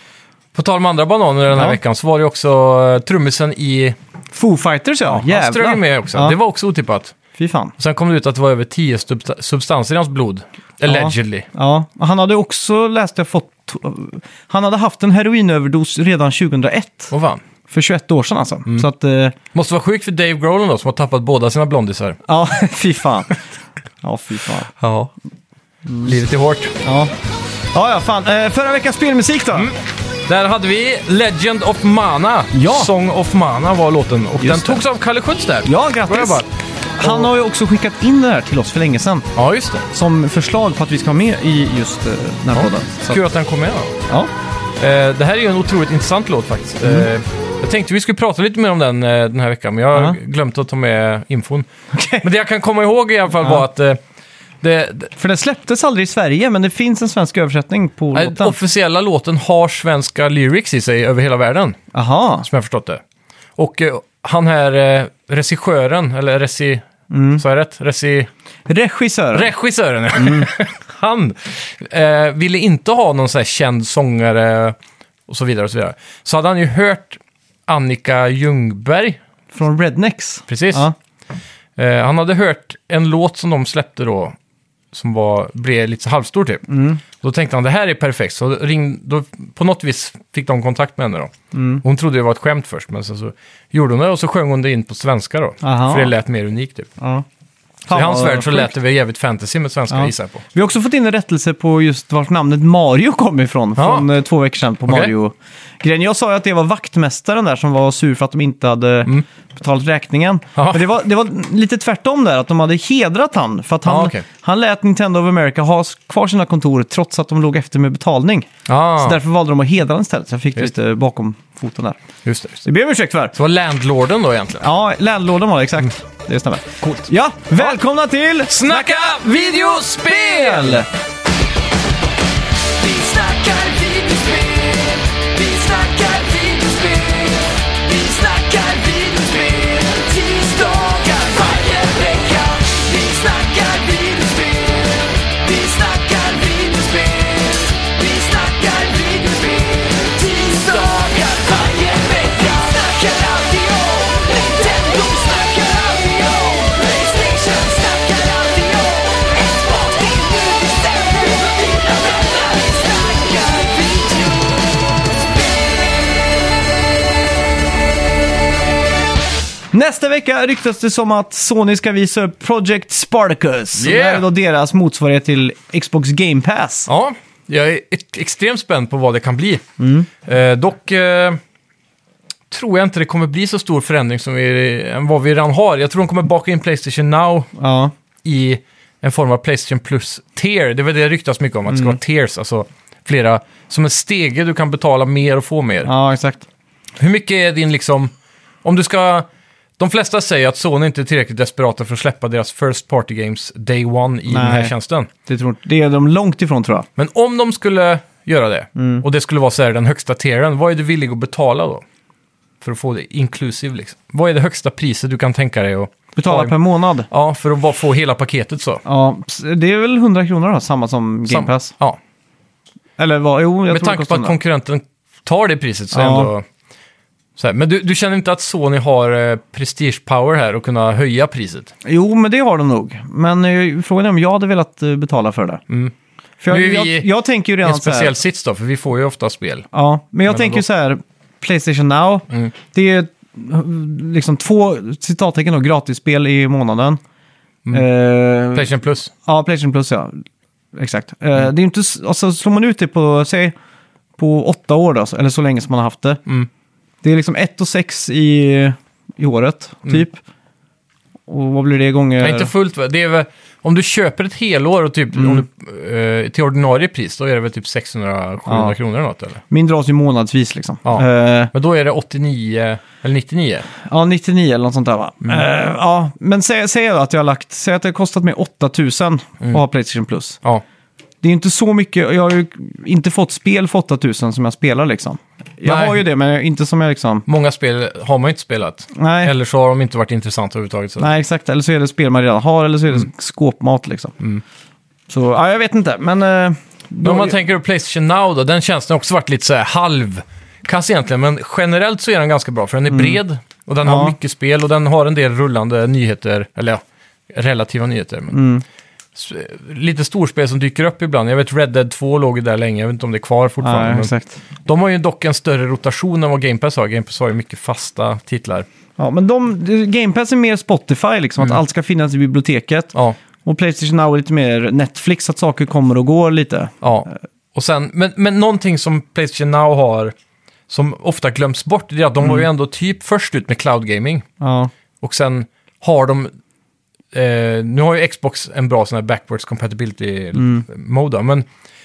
S2: På tal om andra bananer den här
S1: Ja.
S2: veckan så var det också eh, trummisen i...
S1: Foo Fighters ja,
S2: Han strög
S1: jävlar.
S2: ju med också.
S1: Ja.
S2: Det var också otippat.
S1: Fy fan.
S2: Och sen kom det ut att det var över tio substa- substanser i hans blod. Allegedly.
S1: Ja, han hade också läst jag fått... Han hade haft en heroinöverdos redan 2001.
S2: Åh fan.
S1: För 21 år sedan alltså.
S2: Mm.
S1: Så att... eh,
S2: Måste vara sjukt för Dave Grohl då, som har tappat båda sina blondisar.
S1: Ja, fy fan. Ja, fy fan.
S2: Ja. Mm. Livet är hårt.
S1: Ja, ja, ja fan. Eh, förra veckans spelmusik då?
S2: Mm. Där hade vi Legend of Mana.
S1: Ja.
S2: Song of Mana var låten. Och
S1: Just
S2: den
S1: det.
S2: togs av Kalle Schütz där.
S1: Ja,
S2: Bra
S1: grattis.
S2: jobbat.
S1: Han har ju också skickat in det här till oss för länge sedan.
S2: Ja, just det.
S1: Som förslag på att vi ska ha med i just eh, den här podden. Så,
S2: Kul att den kom med då.
S1: ja.
S2: Eh, det här är ju en otroligt intressant låt faktiskt.
S1: Mm.
S2: Eh, jag tänkte vi skulle prata lite mer om den eh, den här veckan, men jag har
S1: Ja.
S2: glömt att ta med infon.
S1: Okej.
S2: Men det jag kan komma ihåg i alla fall var att eh, det, det,
S1: För den släpptes aldrig i Sverige, men det finns en svensk översättning på
S2: nej,
S1: låten.
S2: eh, officiella låten har svenska lyrics i sig över hela världen,
S1: Aha.
S2: som jag förstått det. Och eh, han här eh, regissören, eller regi...
S1: Mm.
S2: Sa jag rätt? Regi...
S1: Regissör.
S2: Regissören, ja.
S1: Mm.
S2: Han eh, ville inte ha någon så här känd sångare och så vidare och så vidare. Så hade han ju hört Annika Ljungberg,
S1: från Rednex.
S2: precis.
S1: Ja.
S2: Eh, han hade hört en låt som de släppte då, som var, blev lite så halvstor typ.
S1: Mm.
S2: Då tänkte han det här är perfekt, så ring, då, på något vis fick de kontakt med henne då.
S1: Mm.
S2: Hon trodde det var ett skämt först, men sen så gjorde hon det och så sjöng hon det in på svenska då.
S1: Aha.
S2: För det lät mer unikt typ.
S1: Ja.
S2: Så i hans
S1: vad
S2: värld så
S1: sjukt.
S2: lät det väl jävligt fantasy med svenska
S1: Ja.
S2: gissar jag på.
S1: Vi har också fått in en rättelse på just vart namnet Mario kom ifrån.
S2: Ja.
S1: Från eh, två veckor sedan på
S2: Okej.
S1: Mario-grejen. Jag sa ju att det var vaktmästaren där som var sur för att de inte hade betalat räkningen.
S2: Mm. Ja.
S1: Men det var, det var lite tvärtom där, att de hade hedrat han. För att han,
S2: Ja, okej.
S1: han lät Nintendo of America ha kvar sina kontor trots att de låg efter med betalning.
S2: Ah,
S1: Så därför valde de att hedra honom istället. Så jag fick
S2: Just
S1: lite bakom foten där.
S2: just det. Just det.
S1: Det ber om ursäkt för.
S2: Så var landlorden då egentligen?
S1: Ja, landlorden var det, exakt. Det stämmer.
S2: Mm. Coolt.
S1: Ja, välkomna till
S2: Snacka videospel!
S3: Vi snackar videospel, vi snackar videospel, vi snackar videospel, tisdagar varje vecka. Vi snackar videospel, vi snackar videospel, vi snackar videospel, tisdagar varje vecka. Snackar alltid om Nintendo, snackar alltid om Playstation, snackar alltid om Xbox, det är nu vi stämmer för dina vänner. Vi snackar video.
S1: Nästa vecka ryktas det som att Sony ska visa upp Project Spartacus.
S2: Yeah.
S1: Det här är då deras motsvarighet till Xbox Game Pass.
S2: Ja, jag är e- extremt spänd på vad det kan bli. Eh, dock eh, tror jag inte det kommer bli så stor förändring som vi, än vad vi redan har. Jag tror de kommer baka in Playstation Now
S1: Ja,
S2: i en form av Playstation Plus tier. Det är väl det det ryktas mycket om, att det ska vara tiers, alltså flera, som en stege du kan betala mer och få mer.
S1: ja exakt.
S2: Hur mycket är din liksom, om du ska, de flesta säger att Sony inte är tillräckligt desperata för att släppa deras First Party Games Day One i den här
S1: Nej.
S2: tjänsten.
S1: Det, tror, det är de långt ifrån tror jag.
S2: Men om de skulle göra det,
S1: Mm.
S2: och det skulle vara så här den högsta tieren, vad är du villig att betala då? För att få det inklusiv liksom. Vad är det högsta priset du kan tänka dig att...
S1: Betala
S2: Ja.
S1: per månad.
S2: Ja, för att bara få hela paketet så.
S1: Ja, ps- det är väl 100 kronor då, samma som Game
S2: Sam-
S1: Pass.
S2: Ja,
S1: Eller vad? Jo, jag
S2: med
S1: tror det
S2: tanke på
S1: kostar
S2: att konkurrenten tar det priset så är
S1: Ja.
S2: ändå... Så här. Men du, du känner inte att Sony har eh, prestige power här och kunna höja priset?
S1: Jo, men det har de nog. Men eh, frågan är om jag hade velat eh, betala för det. För jag,
S2: Mm. Nu är vi
S1: jag,
S2: i
S1: jag tänker ju
S2: Det är en
S1: redan så här...
S2: speciell sits då, för vi får ju ofta spel.
S1: Ja, men jag
S2: Men
S1: tänker
S2: ändå.
S1: ju så här, Playstation Now,
S2: Mm.
S1: det är eh, liksom två citattecken då, gratisspel i månaden.
S2: Mm.
S1: Eh,
S2: Playstation Plus.
S1: ja, Playstation Plus ja. Exakt. Eh,
S2: Mm.
S1: Det är ju inte, s- alltså slår man ut det på, säg, på åtta år då, eller så länge som man har haft det.
S2: Mm.
S1: Det är liksom 1 och 6 i, i året, typ. Och vad blir det gånger?
S2: Nej, Mm. inte fullt. va? Det är väl, om du köper ett helår och
S1: Mm.
S2: typ, om du, eh, till ordinarie pris, då är det väl typ 600-700
S1: Ja.
S2: kronor eller något, eller?
S1: Min dras ju månadsvis liksom.
S2: Ja.
S1: Eh,
S2: Men då är det 89, eller 99.
S1: ja 99 eller något sånt där va?
S2: Mm.
S1: Eh, ja, men säg, säg då att jag har lagt, säg att det har kostat mig 8000
S2: Mm.
S1: att ha Playstation Plus.
S2: Ja,
S1: Det är ju inte så mycket, och jag har ju inte fått spel för 8000 som jag spelar liksom. Jag
S2: Nej.
S1: har ju det, men inte som jag liksom...
S2: många spel har man ju inte spelat.
S1: Nej.
S2: Eller så har de inte varit intressanta överhuvudtaget. Så.
S1: Nej, exakt. Eller så är det spel man redan har, eller så är
S2: Mm.
S1: det skåpmat liksom. Så, ja, jag vet inte, men... eh,
S2: Men
S1: då-
S2: om man tänker på Playstation Now då, den tjänsten har också varit lite så här halvkass egentligen, men generellt så är den ganska bra för den är bred och den har
S1: Mm. Ja.
S2: mycket spel och den har en del rullande nyheter, eller ja, relativa nyheter. Men
S1: Mm.
S2: s- Lite storspel som dyker upp ibland. Jag vet Red Dead 2 låg ju där länge, jag vet inte om det är kvar fortfarande.
S1: Nej,
S2: men
S1: exakt.
S2: de har ju dock en större rotation än vad Game Pass har. Game Pass har ju mycket fasta titlar.
S1: Ja, men de, Game Pass är mer Spotify, liksom,
S2: Mm.
S1: att allt ska finnas i biblioteket.
S2: Ja,
S1: Och Playstation Now är lite mer Netflix, att saker kommer och går lite.
S2: ja. Och sen, men, men någonting som Playstation Now har, som ofta glöms bort, det är att de
S1: Mm.
S2: var ju ändå typ först ut med cloud gaming.
S1: Ja,
S2: Och sen har de... Eh, nu har ju Xbox en bra sån här backwards compatibility
S1: Mm.
S2: mode då, men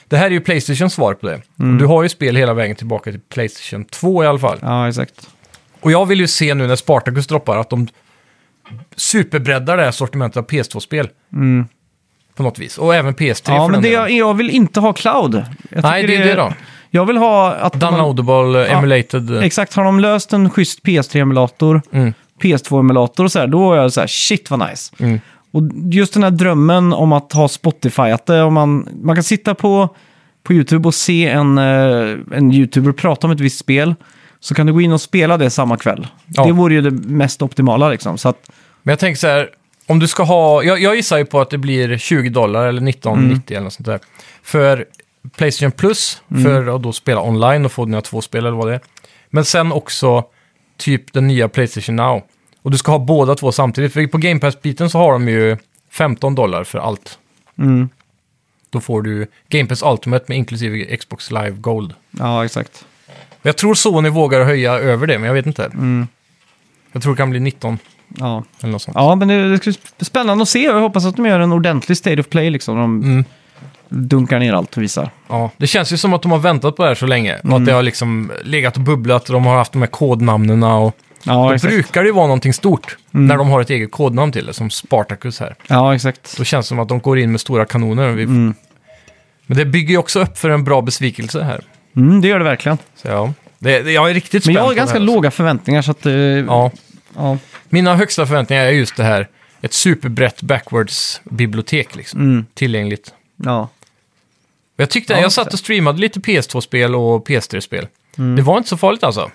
S2: det här är ju Playstations svar på det. Du har ju spel hela vägen tillbaka till Playstation 2 i alla fall.
S1: ja exakt.
S2: Och jag vill ju se nu när Spartacus droppar att de superbreddar det här sortimentet av PS2-spel. På något vis. Och även PS3
S1: Mm. Ja, men
S2: för den
S1: det
S2: delen.
S1: jag, jag vill inte ha cloud. Jag
S2: Nej,
S1: tycker
S2: det är det då.
S1: Jag vill ha att... Man,
S2: Downloadable,
S1: Ja,
S2: emulated. eh,
S1: exakt, har de löst en schysst PS3-emulator,
S2: Mm.
S1: PS2-emulator och så här, då är jag så här, shit vad nice.
S2: Mm.
S1: Och just den här drömmen om att ha Spotify, att det, om man, man kan sitta på, på YouTube och se en, eh, en YouTuber prata om ett visst spel, så kan du gå in och spela det samma kväll.
S2: Ja.
S1: Det vore ju det mest optimala liksom. Så att,
S2: Men jag tänker så här, om du ska ha, jag, jag gissar ju på att det blir 20 dollar eller 19,90 eller något sånt där. För Playstation Plus, för att då spela online och få dina två spel eller vad det är. Men sen också typ den nya Playstation Now. Och du ska ha båda två samtidigt, för på Game Pass-biten så har de ju 15 dollar för allt.
S1: mm,
S2: Då får du Game Pass Ultimate med inklusive Xbox Live Gold.
S1: ja, exakt.
S2: Och Jag tror Sony vågar höja över det, men jag vet inte. Jag tror det kan bli 19
S1: Ja.
S2: eller något sånt.
S1: Ja, men det, det ska bli spännande att se och jag hoppas att de gör en ordentlig State of Play liksom. De
S2: Mm.
S1: dunkar ner allt och visar.
S2: Ja, det känns ju som att de har väntat på det här så länge. Och
S1: Mm.
S2: att det har liksom legat och bubblat och de har haft de här kodnamnen. Och
S1: Ja,
S2: då
S1: exakt. Mm.
S2: brukar det ju vara någonting stort när de har ett eget kodnamn till det, som Spartacus här.
S1: Ja, exakt.
S2: Då känns det som att de går in med stora kanoner. Vi...
S1: Mm.
S2: Men det bygger ju också upp för en bra besvikelse här.
S1: Mm, det gör det verkligen.
S2: Så ja, det, det, jag är riktigt
S1: Men
S2: spänd.
S1: jag har
S2: på
S1: ganska
S2: det här, alltså.
S1: låga förväntningar så att... eh,
S2: Ja,
S1: ja.
S2: mina högsta förväntningar är just det här. Ett superbrett backwards-bibliotek liksom. Tillgängligt.
S1: ja.
S2: Och Jag tyckte,
S1: Mm. Ja,
S2: jag
S1: just
S2: satt
S1: det.
S2: och streamade lite PS2-spel och PS3-spel.
S1: Mm.
S2: Det var inte så farligt alltså.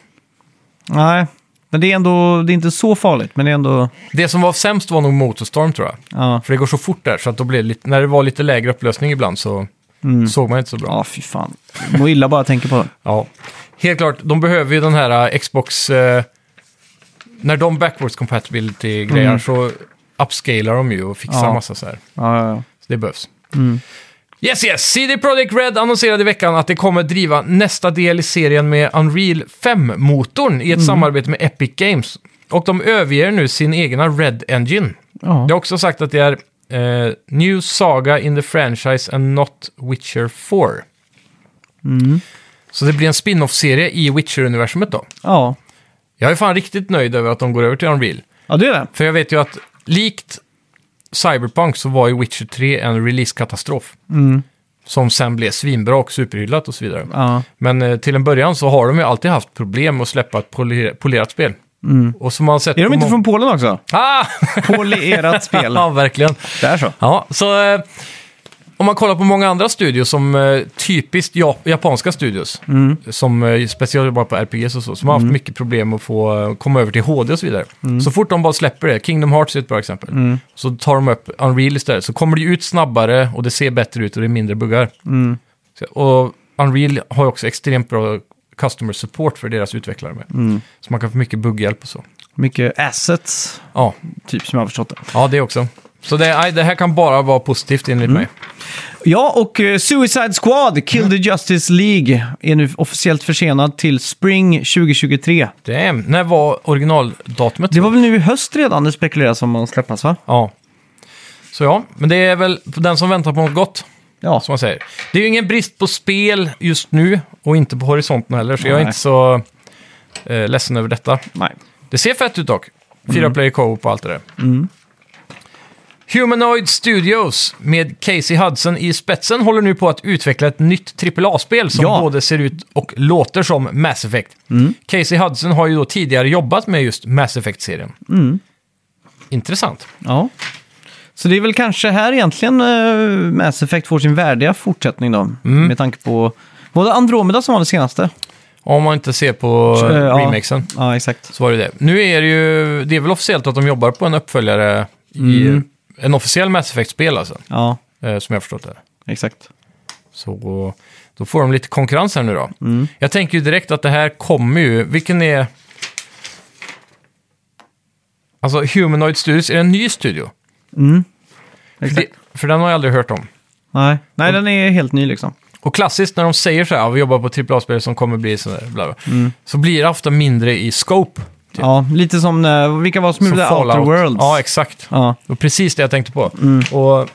S1: Nej, men det är ändå det är inte så farligt. Men det är ändå...
S2: Det som var sämst var nog Motorstorm tror jag.
S1: Ja,
S2: För det går så fort där, så att då blev det lite, när det var lite lägre upplösning ibland så
S1: Mm.
S2: såg man inte så bra.
S1: ja fy fan. Jag mår illa bara jag tänker på det.
S2: Ja. Helt klart, de behöver ju den här eh, Xbox... Eh, när de backwards compatibility-grejer
S1: Mm.
S2: så upscalar de ju och fixar
S1: Ja. Mm.
S2: massa så här.
S1: Ja, ja, ja.
S2: Så det behövs. Yes, yes! CD Projekt Red annonserade i veckan att det kommer driva nästa del i serien med Unreal 5-motorn i ett
S1: Mm.
S2: samarbete med Epic Games. Och de överger nu sin egna Red Engine.
S1: Ja.
S2: Det har också sagt att det är eh, New Saga in the franchise and not Witcher 4.
S1: Mm.
S2: Så det blir en spin-off-serie i Witcher-universumet då.
S1: Ja.
S2: Jag är fan riktigt nöjd över att de går över till Unreal.
S1: ja, det är det.
S2: För jag vet ju att likt Cyberpunk så var ju Witcher 3 en release-katastrof.
S1: Mm.
S2: Som sen blev svinbra och superhyllat och så vidare.
S1: Ja.
S2: Men eh, till en början så har de ju alltid haft problem med att släppa ett poler- polerat spel. Och som man har sett
S1: Mm. Är de
S2: på
S1: inte
S2: må-
S1: från Polen också?
S2: Ah!
S1: Polierat spel.
S2: ja, verkligen.
S1: Där så.
S2: Ja, så eh, om man kollar på många andra studios, som eh, typiskt ja- japanska studios, som eh, speciellt jobbar på RPGs och så, som har haft mycket problem med att få eh, komma över till HD och så vidare. Så fort de bara släpper det, Kingdom Hearts är ett bra exempel, så tar de upp Unreal istället, så kommer det ut snabbare och det ser bättre ut och det är mindre buggar. Så- Och Unreal har ju också extremt bra customer support för deras utvecklare med. Så man kan få mycket bugghjälp och så.
S1: Mycket assets,
S2: Ja,
S1: typ som jag har förstått det.
S2: ja det också. Så det, nej, det här kan bara vara positivt enligt mig.
S1: Ja, och eh, Suicide Squad, Kill the Justice League, är nu officiellt försenad till Spring 2023.
S2: Damn. När var originaldatumet?
S1: Det var väl nu i höst redan det spekuleras om att släppas, va?
S2: Ja. Så ja, men det är väl för den som väntar på något gott,
S1: Ja.
S2: som man säger. Det är ju ingen brist på spel just nu och inte på horisonten heller, så jag är
S1: Nej.
S2: inte så eh, ledsen över detta.
S1: Nej.
S2: Det ser fett ut dock. Fyra
S1: Mm.
S2: player co-op och allt det där. Humanoid Studios med Casey Hudson i spetsen håller nu på att utveckla ett nytt AAA-spel som
S1: Ja. Mm.
S2: både ser ut och låter som Mass Effect. Casey Hudson har ju då tidigare jobbat med just Mass Effect-serien.
S1: Mm.
S2: Intressant.
S1: Ja. Så det är väl kanske här egentligen eh, Mass Effect får sin värdiga fortsättning då. Med tanke på... Var det Andromeda som var det senaste?
S2: Om man inte ser på
S1: Eh,
S2: uh,
S1: ja.
S2: remakesen
S1: Ja, exakt.
S2: så var det det. Nu är det ju, det är väl officiellt att de jobbar på en uppföljare i
S1: Mm.
S2: en officiell Mass Effect-spel alltså,
S1: Ja,
S2: eh, som jag har förstått det.
S1: exakt.
S2: Så då får de lite konkurrens här nu då.
S1: Mm.
S2: Jag tänker ju direkt att det här kommer ju, vilken är... Alltså Humanoid Studios, är det en ny studio? För,
S1: exakt.
S2: det, för den har jag aldrig hört om.
S1: Nej. Nej, den är helt ny liksom.
S2: Och klassiskt när de säger så här, "Ja, vi jobbar på AAA-spel som kommer bli sådär, bla bla.
S1: Mm.
S2: Så blir det ofta mindre i scope.
S1: Ja, lite som... eh, Vilka var det som
S2: Som
S1: gjorde Outer Worlds?
S2: Ja, exakt.
S1: ja.
S2: Det var precis det jag tänkte på.
S1: Mm.
S2: Och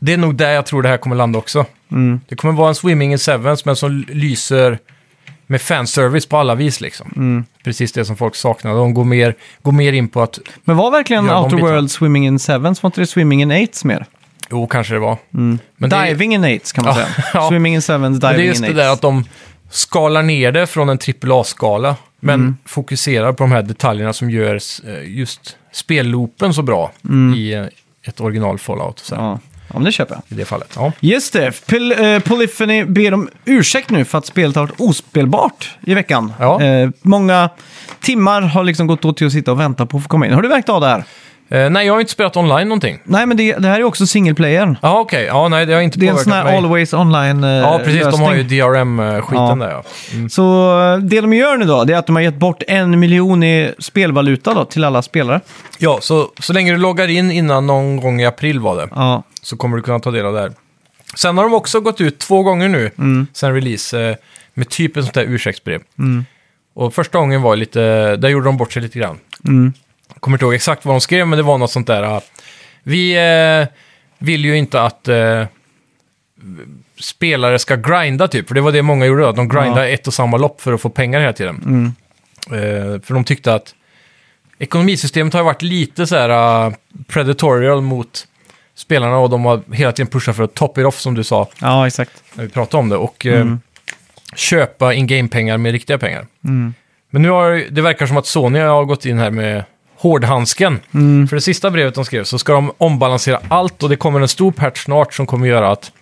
S2: det är nog där jag tror det här kommer landa också.
S1: Mm.
S2: Det kommer vara en Swimming in Sevens, men som lyser med fanservice på alla vis. Liksom.
S1: Mm.
S2: Precis det som folk saknar. De går mer, går mer in på att,
S1: Men var verkligen
S2: Gör de
S1: Outer
S2: bitarna.
S1: Worlds Swimming in Sevens, var inte det Swimming in Eights mer?
S2: jo, kanske det var. Men det, är-
S1: Mm. Diving in Eights kan man
S2: Ja,
S1: säga.
S2: ja.
S1: Swimming in Sevens,
S2: men
S1: Diving
S2: det är just
S1: in
S2: det
S1: Eights.
S2: där att de skalar ner det från en AAA-skala, men
S1: Mm.
S2: fokuserar på de här detaljerna som gör eh, just spelloopen så bra i eh, ett original Fallout. Så här,
S1: ja. Mm. ja, men det köper jag.
S2: I det fallet. Ja.
S1: Just det, Pil- eh, Polyphony ber om ursäkt nu för att spelet har varit ospelbart i veckan.
S2: Ja.
S1: Eh, många timmar har liksom gått åt till att sitta och vänta på att få komma in. Har du märkt av det här?
S2: Eh, nej, jag har inte spelat online någonting.
S1: Nej, men det, det här är också single player.
S2: Ja, okej. Ja, nej, det har inte
S1: Det är en
S2: påverkat
S1: sån här
S2: mig.
S1: always online eh,
S2: Ja, precis.
S1: lösning.
S2: De har ju DRM-skiten
S1: Ja.
S2: där, ja. Mm.
S1: Så eh, det de gör nu då, det är att de har gett bort en miljon i spelvaluta då, till alla spelare.
S2: Ja, så, så länge du loggar in innan någon gång i april var det,
S1: Ja,
S2: så kommer du kunna ta del av det här. Sen har de också gått ut två gånger nu,
S1: Mm.
S2: sen release, eh, med typ ett sånt där ursäktsbrev. Och första gången var lite, där gjorde de bort sig lite grann.
S1: mm.
S2: Jag kommer inte ihåg exakt vad de skrev, men det var något sånt där, ah, vi eh, vill ju inte att eh, spelare ska grinda typ, för det var det många gjorde, då, att de grindade ett och samma lopp för att få pengar hela tiden. Eh, för de tyckte att ekonomisystemet har ju varit lite så här eh, predatorial mot spelarna och de har hela tiden pushat för att top it off som du sa
S1: ja exakt.
S2: när vi pratade om det och eh,
S1: Mm.
S2: köpa in-game-pengar med riktiga pengar.
S1: Mm.
S2: Men nu har det verkar som att Sony har gått in här med hårdhandsken.
S1: Mm.
S2: För det sista brevet de skrev så ska de ombalansera allt och det kommer en stor patch snart som kommer göra att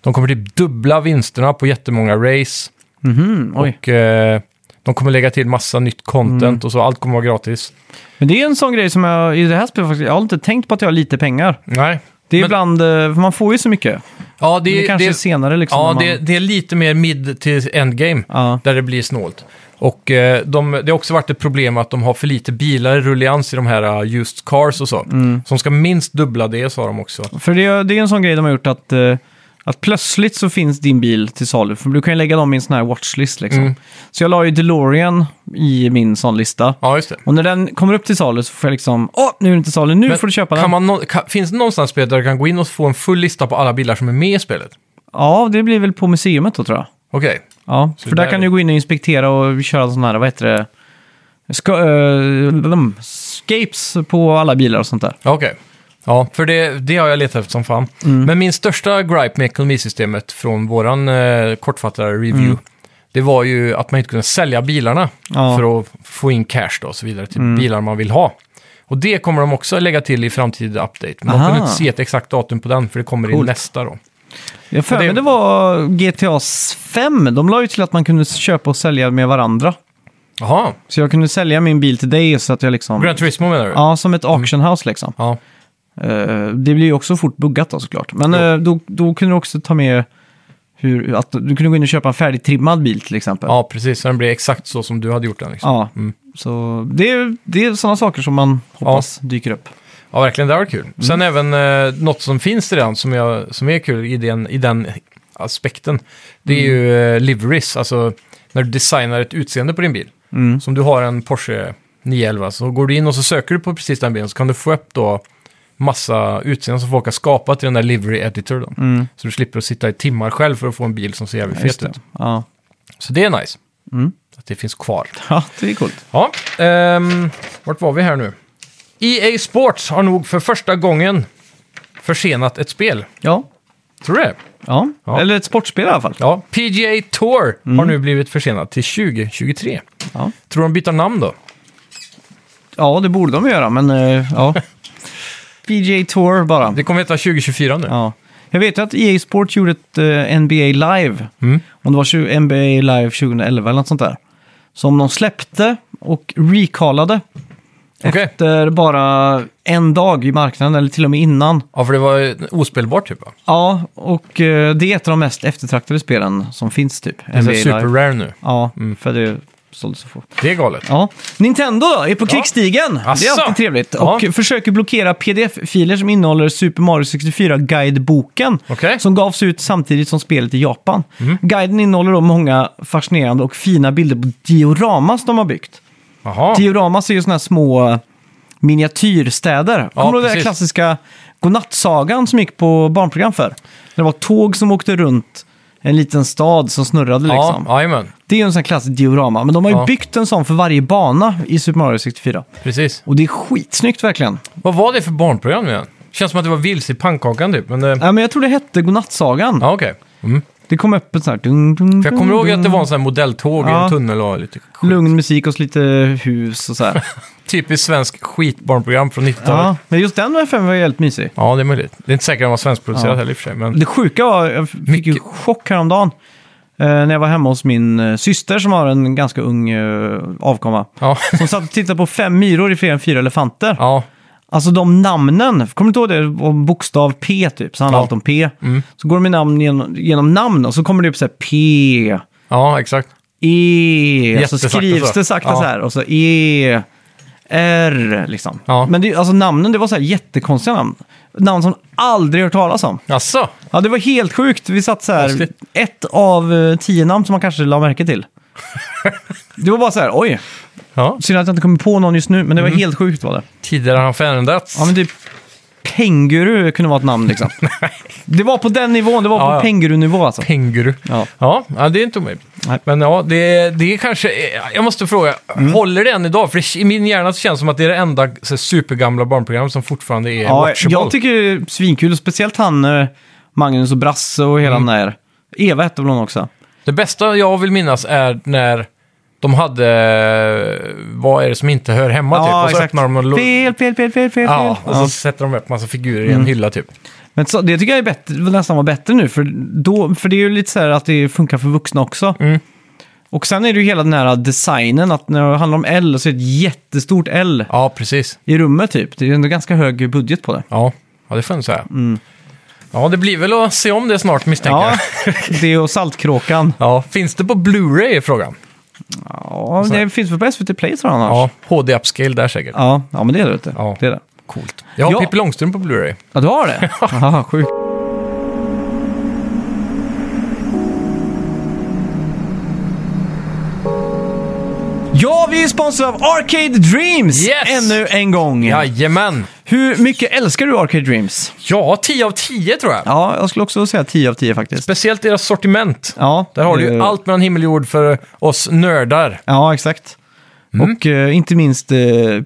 S2: de kommer typ dubbla vinsterna på jättemånga race
S1: Mhm, oj. Mm.
S2: och eh, de kommer lägga till massa nytt content och så, allt kommer vara gratis.
S1: Men det är en sån grej som jag i det här spelet faktiskt, jag har inte tänkt på att jag har lite pengar.
S2: Nej.
S1: Det är
S2: Men-
S1: ibland, eh, för man får ju så mycket.
S2: Ja,
S1: Det,
S2: det,
S1: det kanske
S2: det,
S1: är senare liksom.
S2: ja,
S1: när man,
S2: det, det är lite mer mid till endgame.
S1: ja.
S2: där det blir snålt. Och eh, de, det har också varit ett problem att de har för lite bilar i rullians i de här eh, used
S1: Mm.
S2: cars och så. Så de ska minst dubbla det, sa de också.
S1: För det, är- det är en sån grej de har gjort att eh, Att plötsligt så finns din bil till salu. För du kan ju lägga dem i en sån här watchlist liksom.
S2: Mm.
S1: Så jag la ju DeLorean i min sån lista.
S2: Ja, just det.
S1: Och när den kommer upp till salu så får jag liksom, åh, nu är den till salu, nu
S2: Men
S1: får du köpa
S2: kan
S1: den.
S2: Man nå- kan, finns det någonstans i spelet där du kan gå in och få en full lista på alla bilar som är med i spelet?
S1: Ja, det blir väl på museet då tror jag.
S2: Okej.
S1: Ja,
S2: Så
S1: för där
S2: där
S1: kan
S2: är-
S1: du gå in och inspektera och köra sådana här, vad heter det? Ska, eh, de- scapes på alla bilar och sånt där.
S2: Ja, Okej. Ja, för det, det har jag letat efter som fan.
S1: Mm.
S2: Men min största gripe med ekonomisystemet från våran eh, kortfattade review, det var ju att man inte kunde sälja bilarna
S1: Mm. Ja. Mm.
S2: för att få in cash då och så vidare till bilar man vill ha. Och det kommer de också lägga till i framtida update. Men
S1: Aha.
S2: man kunde inte se ett exakt datum på den, för det kommer
S1: Coolt.
S2: i nästa då.
S1: Jag för
S2: Ja, det-
S1: mig det var GTA 5. De la ju till att man kunde köpa och sälja med varandra.
S2: Jaha,
S1: Så jag kunde sälja min bil till dig så att jag liksom...
S2: Gran Turismo menar du?
S1: Ja, som ett auction house liksom.
S2: ja.
S1: Eh, det blir ju också fort buggat då såklart. Men
S2: Jo.
S1: eh, då, då kunde du också ta med hur, att du kunde gå in och köpa en färdigtrimmad bil till exempel.
S2: Ja, precis. Så den blir exakt så som du hade gjort den. Liksom.
S1: Ja.
S2: Mm.
S1: Så det är, det är sådana saker som man hoppas dyker upp.
S2: Ja, verkligen. Det var kul.
S1: Mm.
S2: Sen även eh, något som finns redan som, jag, som är kul i den, i den aspekten. Det är ju
S1: Mm.
S2: eh, liveries, alltså när du designar ett utseende på din bil.
S1: Mm.
S2: Som du har en Porsche 911, så går du in och så söker du på precis den bilen så kan du få upp då massa utseenden som folk har skapat i den där livery editor. Då.
S1: Mm.
S2: Så du slipper att sitta i timmar själv för att få en bil som ser jävligt
S1: Ja, just
S2: fet
S1: det.
S2: ut.
S1: Ja.
S2: Så det är nice.
S1: Mm.
S2: Att det finns kvar.
S1: ja, det är coolt.
S2: Ja, ehm, vart var vi här nu? EA Sports har nog för första gången försenat ett spel.
S1: Ja.
S2: Tror du det?
S1: Ja.
S2: Ja.
S1: eller ett sportspel i alla fall.
S2: Ja, PGA Tour har nu blivit försenat till 2023.
S1: Ja.
S2: Tror de byter namn då?
S1: Ja, det borde de göra, men eh, ja. PGA Tour bara.
S2: Det kommer heta 2024 nu.
S1: Ja. Jag vet ju att EA Sport gjorde ett eh, NBA Live.
S2: Mm.
S1: Om det var 20, NBA Live 2011 eller något sånt där. Som de släppte och recallade
S2: Okej.
S1: efter bara en dag i marknaden, eller till och med innan.
S2: Ja, för det var ospelbart typ va?
S1: Ja, och eh, det är ett av de mest eftertraktade spelen som finns typ.
S2: Det är så här super rare nu.
S1: Ja, för det sålde så få.
S2: Det är galet.
S1: Ja. Nintendo då, är på krigsstigen. Det är
S2: Asså?
S1: alltid trevligt.
S2: Ja.
S1: Och försöker blockera pdf-filer som innehåller Super Mario 64-guideboken.
S2: Okej. Mhm.
S1: Som gavs ut samtidigt som spelet i Japan. Guiden innehåller då många fascinerande och fina bilder på dioramas de har byggt.
S2: Jaha.
S1: Dioramas är ju sådana här små eh, miniatyrstäder.
S2: Ja,
S1: Kommer du ihåg den där
S2: precis.
S1: klassiska godnattsagan som gick på barnprogram för? Det var tåg som åkte runt en liten stad som snurrade liksom.
S2: Ja, jajamän.
S1: Det är ju en sån här klassisk diorama, men de har ju
S2: Ja.
S1: byggt en sån för varje bana i Super Mario 64.
S2: Precis.
S1: Och det är skitsnyggt verkligen.
S2: Vad var det för barnprogram nu igen? Känns som att det var vilse i pannkakan typ. Men, eh,
S1: Ja, men jag tror det hette Godnattsagan.
S2: Ja, okej. Mm.
S1: Det kom upp ett sånt här... Dung, dung,
S2: För jag
S1: dung,
S2: kommer ihåg att det
S1: dung.
S2: var en sån här modelltåg i
S1: Ja.
S2: en tunnel och lite skit.
S1: Lugn musik och så lite hus och så här.
S2: Typiskt svensk skitbarnprogram från 90-talet.
S1: ja, men just den var för mig var jävligt mysig.
S2: Ja, det är möjligt. Det är inte säkert att den var svenskproducerad
S1: Ja.
S2: heller i och för sig. Men...
S1: Det sjuka var, jag fick ju
S2: Mycket.
S1: chock häromdagen. Eh, när jag var hemma hos min eh, syster som har en ganska ung eh, avkomma.
S2: Ja.
S1: Som satt och tittade på fem myror i fler än fyra elefanter.
S2: ja,
S1: Alltså de namnen, kommer du inte ihåg det? Om bokstav P typ, så handlar
S2: Ja. Mm.
S1: allt om P. Så går de med namn genom, genom namn och så kommer det upp så här P,
S2: ja, exakt.
S1: E, så
S2: Jättesakta
S1: skrivs
S2: så.
S1: det sakta
S2: Ja.
S1: så här och så E, R liksom.
S2: Ja.
S1: Men det, alltså namnen, det var så här jättekonstiga namn. Namn som aldrig hört talas om.
S2: Jaså?
S1: Ja, det var helt sjukt. Vi satt så här,
S2: Konstigt.
S1: ett av eh, tio namn som man kanske la märke till. det var bara så här, oj,
S2: Ja.
S1: synd att jag inte kommer på någon just nu, men det
S2: Mm.
S1: var helt sjukt var det.
S2: Tidigare har han förändrats.
S1: Ja, men typ Penguru kunde vara ett namn liksom. det var på den nivån, det var
S2: Ja,
S1: på
S2: ja.
S1: Penguru-nivå alltså.
S2: Penguru.
S1: Ja.
S2: Ja, ja, det är inte omöjligt.
S1: Nej. Mm.
S2: Men ja, det, det är kanske... är- Jag måste fråga, håller det än idag? För i min hjärna så känns det som att det är det enda så, här supergamla barnprogram som fortfarande är
S1: Ja,
S2: watchable.
S1: jag tycker det är svinkul, och speciellt han eh, Magnus och Brasse och
S2: Mm.
S1: hela den där. Eva hette väl hon också?
S2: Det bästa jag vill minnas är när de hade... eh, Vad är det som inte hör hemma typ? Och så öppnar de och... lo-
S1: Fel, fel, fel, fel, fel.
S2: Ja, och
S1: fel.
S2: så
S1: Ja. Mm.
S2: sätter de upp massa figurer i en hylla typ.
S1: Men så, det tycker jag är bättre, nästan var bättre nu, för, då, för det är ju lite så här att det funkar för vuxna också.
S2: Mm.
S1: Och sen är det ju hela den här designen, att när det handlar om L så är det ett jättestort L
S2: Ja, precis.
S1: i rummet typ. Det är ju ändå ganska hög budget på det.
S2: Ja, ja det får jag säga. Ja, det blir väl att se om det snart misstänker
S1: Mm. Ja,
S2: jag.
S1: det och Saltkråkan.
S2: Ja, finns det på Blu-ray är frågan?
S1: Ja, det finns väl på SVT Play tror jag annars. Ja.
S2: Ja, HD-upscale där säkert.
S1: Ja, men det är det. vet du.
S2: Ja.
S1: det, är det.
S2: Coolt. Jag har
S1: Ja. Mm.
S2: Pippi Långstrump på Blu-ray.
S1: Ja, du har det? Aha, sjukt. Ja, vi är sponsrade av Arcade Dreams
S2: Yes!
S1: ännu en gång.
S2: Jajamän!
S1: Hur mycket älskar du Arcade Dreams?
S2: Ja, 10 av 10 tror jag.
S1: Ja, jag skulle också säga 10 av 10 faktiskt.
S2: Speciellt deras sortiment.
S1: Ja, Eh.
S2: Där har du
S1: det-
S2: ju allt mellan himmel och jord för oss nördar.
S1: Ja, exakt. Och eh, inte minst eh,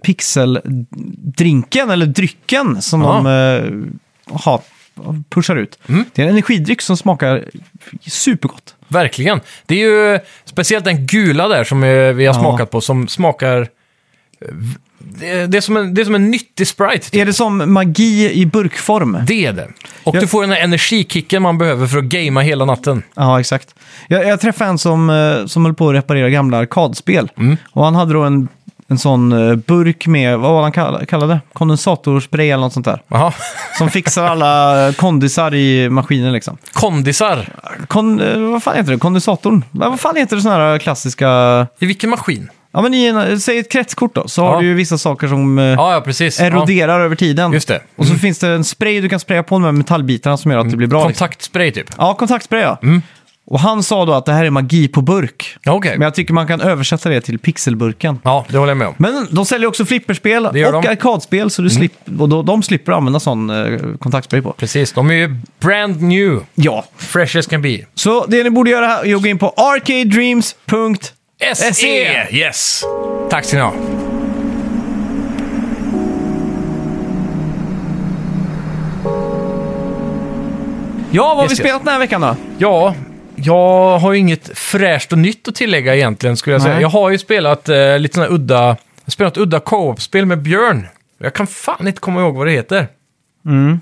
S1: pixeldrinken, eller drycken, som
S2: Ja.
S1: de eh, har, pushar ut. Det är en energidryck som smakar supergott.
S2: Verkligen. Det är ju speciellt den gula där som eh, vi har
S1: Ja.
S2: smakat på som smakar... eh, v- Det det är som en, det är som en nyttig Sprite. typ.
S1: Är det som magi i burkform?
S2: Det är det. Och
S1: Ja.
S2: du får den där energikicken man behöver för att gamea hela natten.
S1: Ja, exakt. Jag, jag träffade en som, eh, som höll på att reparera gamla arkadspel. Och han hade då en, en sån eh, burk med, vad var han kall- kallade det? Kondensatorspray eller något sånt där.
S2: Jaha.
S1: Som fixar alla eh, kondisar i maskinen liksom.
S2: Kondisar.
S1: Kon, eh, vad fan heter det? Kondensatorn? Nej, Vad fan heter det sådana här klassiska...
S2: I vilken maskin?
S1: Ja, men i en, säg ett kretskort då, så
S2: Ja.
S1: har du ju vissa saker som eh,
S2: Ja, ja precis.
S1: eroderar över tiden.
S2: Just det. Mm.
S1: Och så finns det en spray du kan spraya på de här metallbitarna som gör att det blir
S2: ja.
S1: bra. Liksom.
S2: Kontaktspray typ.
S1: Ja, kontaktspray ja. Och han sa då att det här är magi på burk.
S2: Ja, Okej.
S1: Men jag tycker man kan översätta det till pixelburken.
S2: Ja, det håller jag med om.
S1: Men de säljer också flipperspel
S2: Det gör
S1: och
S2: de. Mm.
S1: arkadspel, så du slip, och då, de slipper använda sån eh, kontaktspray på.
S2: Precis, de är ju brand new.
S1: Ja,
S2: Fresh as can be.
S1: så det ni borde göra här är att gå in på arcadedreams.se. E.
S2: SE! E. Yes! Tack ska ni ha.
S1: Ja, vad har vi
S2: Yes, yes.
S1: spelat den här veckan då?
S2: Ja, jag har ju inget fräscht och nytt att tillägga egentligen skulle jag säga.
S1: Nej.
S2: Jag har ju spelat eh, lite sådana udda, jag har spelat udda co-op-spel med Björn. Jag kan fan inte komma ihåg vad det heter.
S1: Mm.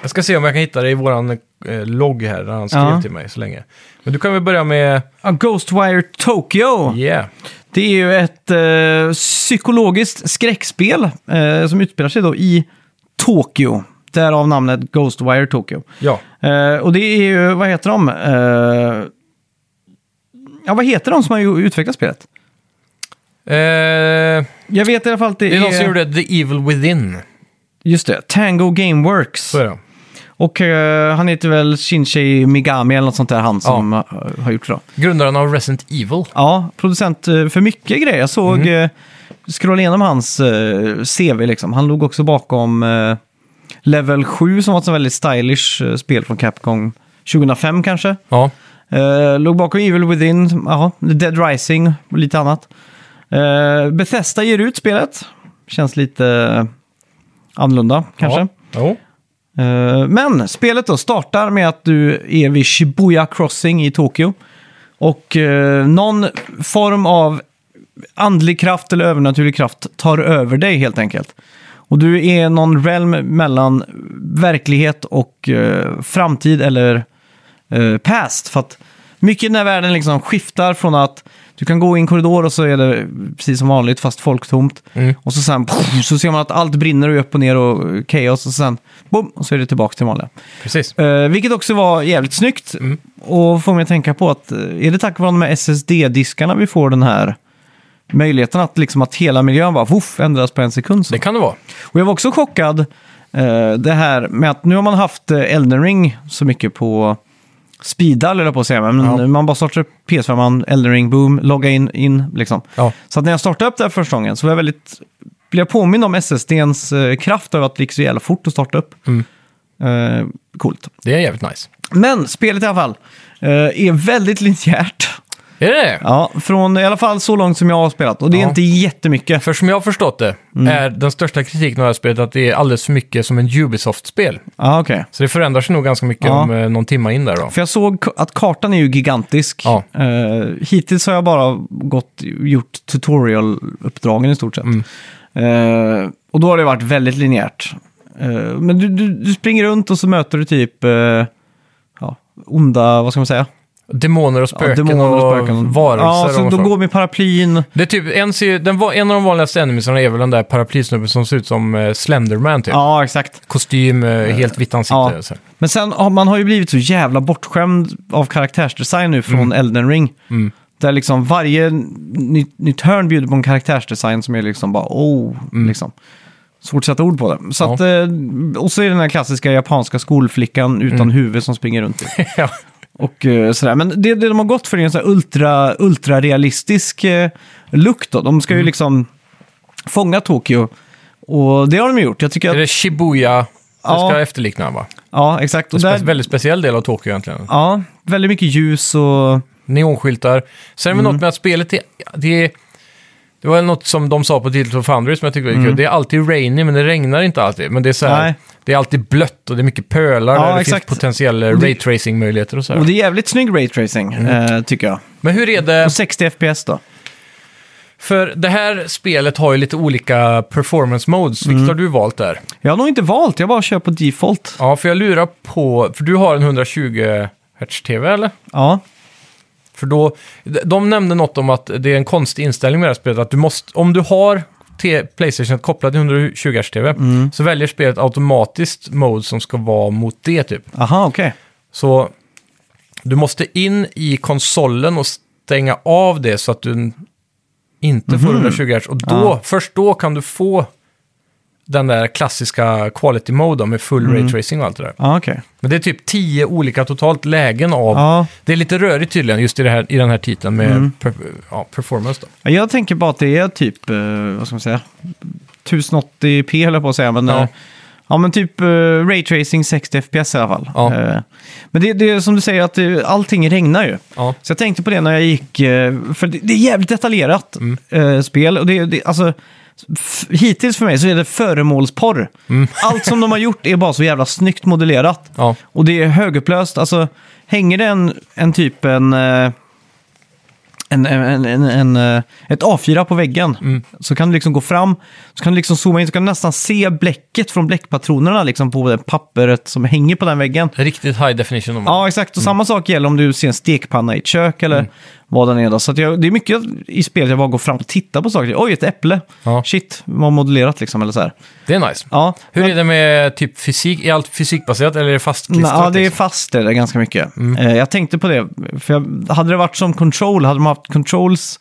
S2: Jag ska se om jag kan hitta det i våran eh, logg här, där han skrev
S1: Ja.
S2: till mig så länge. Men du kan väl börja med...
S1: Ja, Ghostwire Tokyo.
S2: Yeah.
S1: Det är ju ett eh, psykologiskt skräckspel eh, som utspelar sig då i Tokyo. Därav namnet Ghostwire Tokyo.
S2: Ja.
S1: Eh, och det är ju, vad heter de? Eh, ja, vad heter de som har ju utvecklat spelet?
S2: Eh,
S1: Jag vet i alla fall att det,
S2: det är någon som gjorde The Evil Within.
S1: Just det, Tango Gameworks.
S2: Så är det.
S1: Och eh, han heter väl Shinji Migami eller något sånt där, han som eh, har gjort det. då.
S2: Grundaren av Resident Evil.
S1: Ja, producent eh, för mycket grejer. Jag såg, mm. scrolla igenom hans eh, CV liksom. Han låg också bakom eh, Level 7 som var ett så väldigt stylish eh, spel från Capcom 2005 kanske.
S2: Ja.
S1: Eh, låg bakom Evil Within, ja, Dead Rising och lite annat. Eh, Bethesda ger ut spelet. Känns lite eh, annorlunda kanske.
S2: Ja. Jo.
S1: Eh, men spelet då startar med att du är vid Shibuya Crossing i Tokyo. Och eh, någon form av andlig kraft eller övernaturlig kraft tar över dig helt enkelt. Och du är någon realm mellan verklighet och eh, framtid eller eh, past. För att mycket i den här världen liksom skiftar från att du kan gå i en korridor och så är det precis som vanligt fast folktomt. Och så sen pff, så ser man att allt brinner och är upp och ner och eh, kaos och sen boom, och så är det tillbaka till vanliga.
S2: Precis.
S1: Eh, vilket också var jävligt snyggt
S2: Mm.
S1: och får mig att tänka på att eh, är det tack vare de här SSD-diskarna vi får den här möjligheten att liksom att hela miljön bara woof, ändras på en sekund. Så.
S2: Det kan det vara.
S1: Och jag var också chockad eh, det här med att nu har man haft eh, Elden Ring så mycket på speedar, eller på att säga, men
S2: Ja.
S1: man bara startar upp PS5, man, Elden Ring, boom, logga in, in liksom.
S2: Ja.
S1: Så att när jag startade upp det här första gången så var jag väldigt, blev jag påmind om SSDns eh, kraft över att det gick så jävla fort att starta upp.
S2: Mm.
S1: Eh, coolt.
S2: Det är jävligt nice.
S1: Men spelet i alla fall eh, är väldigt linjärt.
S2: Är det det?
S1: Ja, från i alla fall så långt som jag har spelat. Och det är
S2: Ja.
S1: inte jättemycket.
S2: För som jag har förstått det
S1: Mm.
S2: är den största kritiken av det här spelet att det är alldeles för mycket som en Ubisoft-spel.
S1: Ja, Ah, okej.
S2: Så det förändrar sig nog ganska mycket
S1: Ja.
S2: om eh, någon timma in där då.
S1: För jag såg k- att kartan är ju gigantisk.
S2: Ja.
S1: Eh, hittills har jag bara gått, gjort tutorial-uppdragen i stort sett.
S2: Mm.
S1: Eh, och då har det varit väldigt linjärt. Eh, men du, du, du springer runt och så möter du typ eh, ja, onda, vad ska man säga?
S2: Demoner och
S1: Ja,
S2: spöken och, varelser
S1: Ja, så
S2: och
S1: de
S2: så.
S1: går med paraplyn.
S2: Det är typ, en, ser ju- den, va- en av de vanligaste enemiesarna är väl den där paraplysnubben som ser ut som eh, Slenderman typ.
S1: Ja, exakt.
S2: Kostym, eh, helt vitt ansikte.
S1: ja.
S2: Så.
S1: Men sen, har- man har ju blivit så jävla bortskämd av karaktärsdesign nu från
S2: Mm.
S1: Elden Ring. Där liksom varje ny, nytt hörn bjuder på en karaktärsdesign som är liksom bara oh, liksom. Svårt att sätta ord på det. Så
S2: Mm. Ja.
S1: att,
S2: Mm.
S1: eh, och så är det den här klassiska japanska skolflickan utan huvud som springer runt.
S2: ja.
S1: Och eh, sådär. Men det, det de har gått för är en sån här ultra, ultra-realistisk eh, look då. De ska
S2: Mm.
S1: ju liksom fånga Tokyo. Och det har de gjort. Jag tycker
S2: Är
S1: att...
S2: det Shibuya? Det
S1: Ja.
S2: ska efterlikna va?
S1: Ja, exakt. Och
S2: Det är
S1: där,
S2: en väldigt speciell del av Tokyo egentligen.
S1: ja, väldigt mycket ljus och...
S2: Neonskyltar. Sen är det väl
S1: Mm.
S2: något med att spelet är... Det, är, det var något som de sa på Digital Foundry som jag tyckte var kul. Det är alltid rainy, men det regnar inte alltid. Men det är, så
S1: Mm. Nej.
S2: här, det är alltid blött och det är mycket pölar
S1: Ja,
S2: där det
S1: exakt.
S2: finns potentiella raytracing-möjligheter och så
S1: Och
S2: här.
S1: det är jävligt snygg raytracing,
S2: Mm.
S1: eh, tycker jag.
S2: Men hur är det?
S1: Och 60 FPS då.
S2: För det här spelet har ju lite olika performance modes. Vilket
S1: Mm.
S2: har du valt där?
S1: Jag har nog inte valt, jag bara kör på default.
S2: Ja, för jag lurar på... För du har en 120 Hz-TV, eller?
S1: Ja,
S2: För då, de nämnde något om att det är en konstig inställning med det här spelet. Att du måste, om du har te- Playstation kopplad till 120 Hz-TV så väljer spelet automatiskt mode som ska vara mot det typ.
S1: aha okej.
S2: Så du måste in i konsolen och stänga av det så att du inte får 120 Hz. Och då, först då kan du få den där klassiska quality mode då, med full ray tracing och allt det där.
S1: Ja, okej.
S2: Men det är typ tio olika totalt lägen av
S1: Ja.
S2: det är lite rörigt tydligen just i, det här, i den här titeln med
S1: Mm.
S2: per, ja, performance. Då.
S1: Ja, Jag tänker bara att det är typ, eh, vad ska man säga, 1080p höll jag på att säga. Men,
S2: Ja.
S1: ja. ja, men typ eh, raytracing 60 fps i alla fall.
S2: Ja.
S1: Eh, men det, det är som du säger, att det, allting regnar ju.
S2: Ja.
S1: Så jag tänkte på det när jag gick, eh, för det, det är jävligt detaljerat eh, spel. Och det, det, alltså, f- hittills för mig så är det föremålsporr. Allt som de har gjort är bara så jävla snyggt modellerat.
S2: Ja.
S1: Och det är högupplöst. Alltså, hänger det en, en typ en, eh, en, en, en, en, eh, ett A4 på väggen så kan du liksom gå fram, så kan du liksom zooma in, så kan du nästan se bläcket från bläckpatronerna liksom på det pappret som hänger på den väggen.
S2: Riktigt high definition. Om man.
S1: Ja, exakt. Och samma sak gäller om du ser en stekpanna i ett kök eller vad den är. Då. Så att jag, det är mycket i spelet jag bara går fram och tittar på saker. Oj, ett äpple.
S2: Ja.
S1: Shit, vad modellerat liksom. Eller så här.
S2: Det är nice.
S1: Ja,
S2: Hur är det med typ fysik? Är allt fysikbaserat eller är det fastklistrat?
S1: Ja, det är
S2: liksom? Mm.
S1: fast är det ganska mycket. Eh, jag tänkte på det, för jag, hade det varit som Control, hade de haft Controls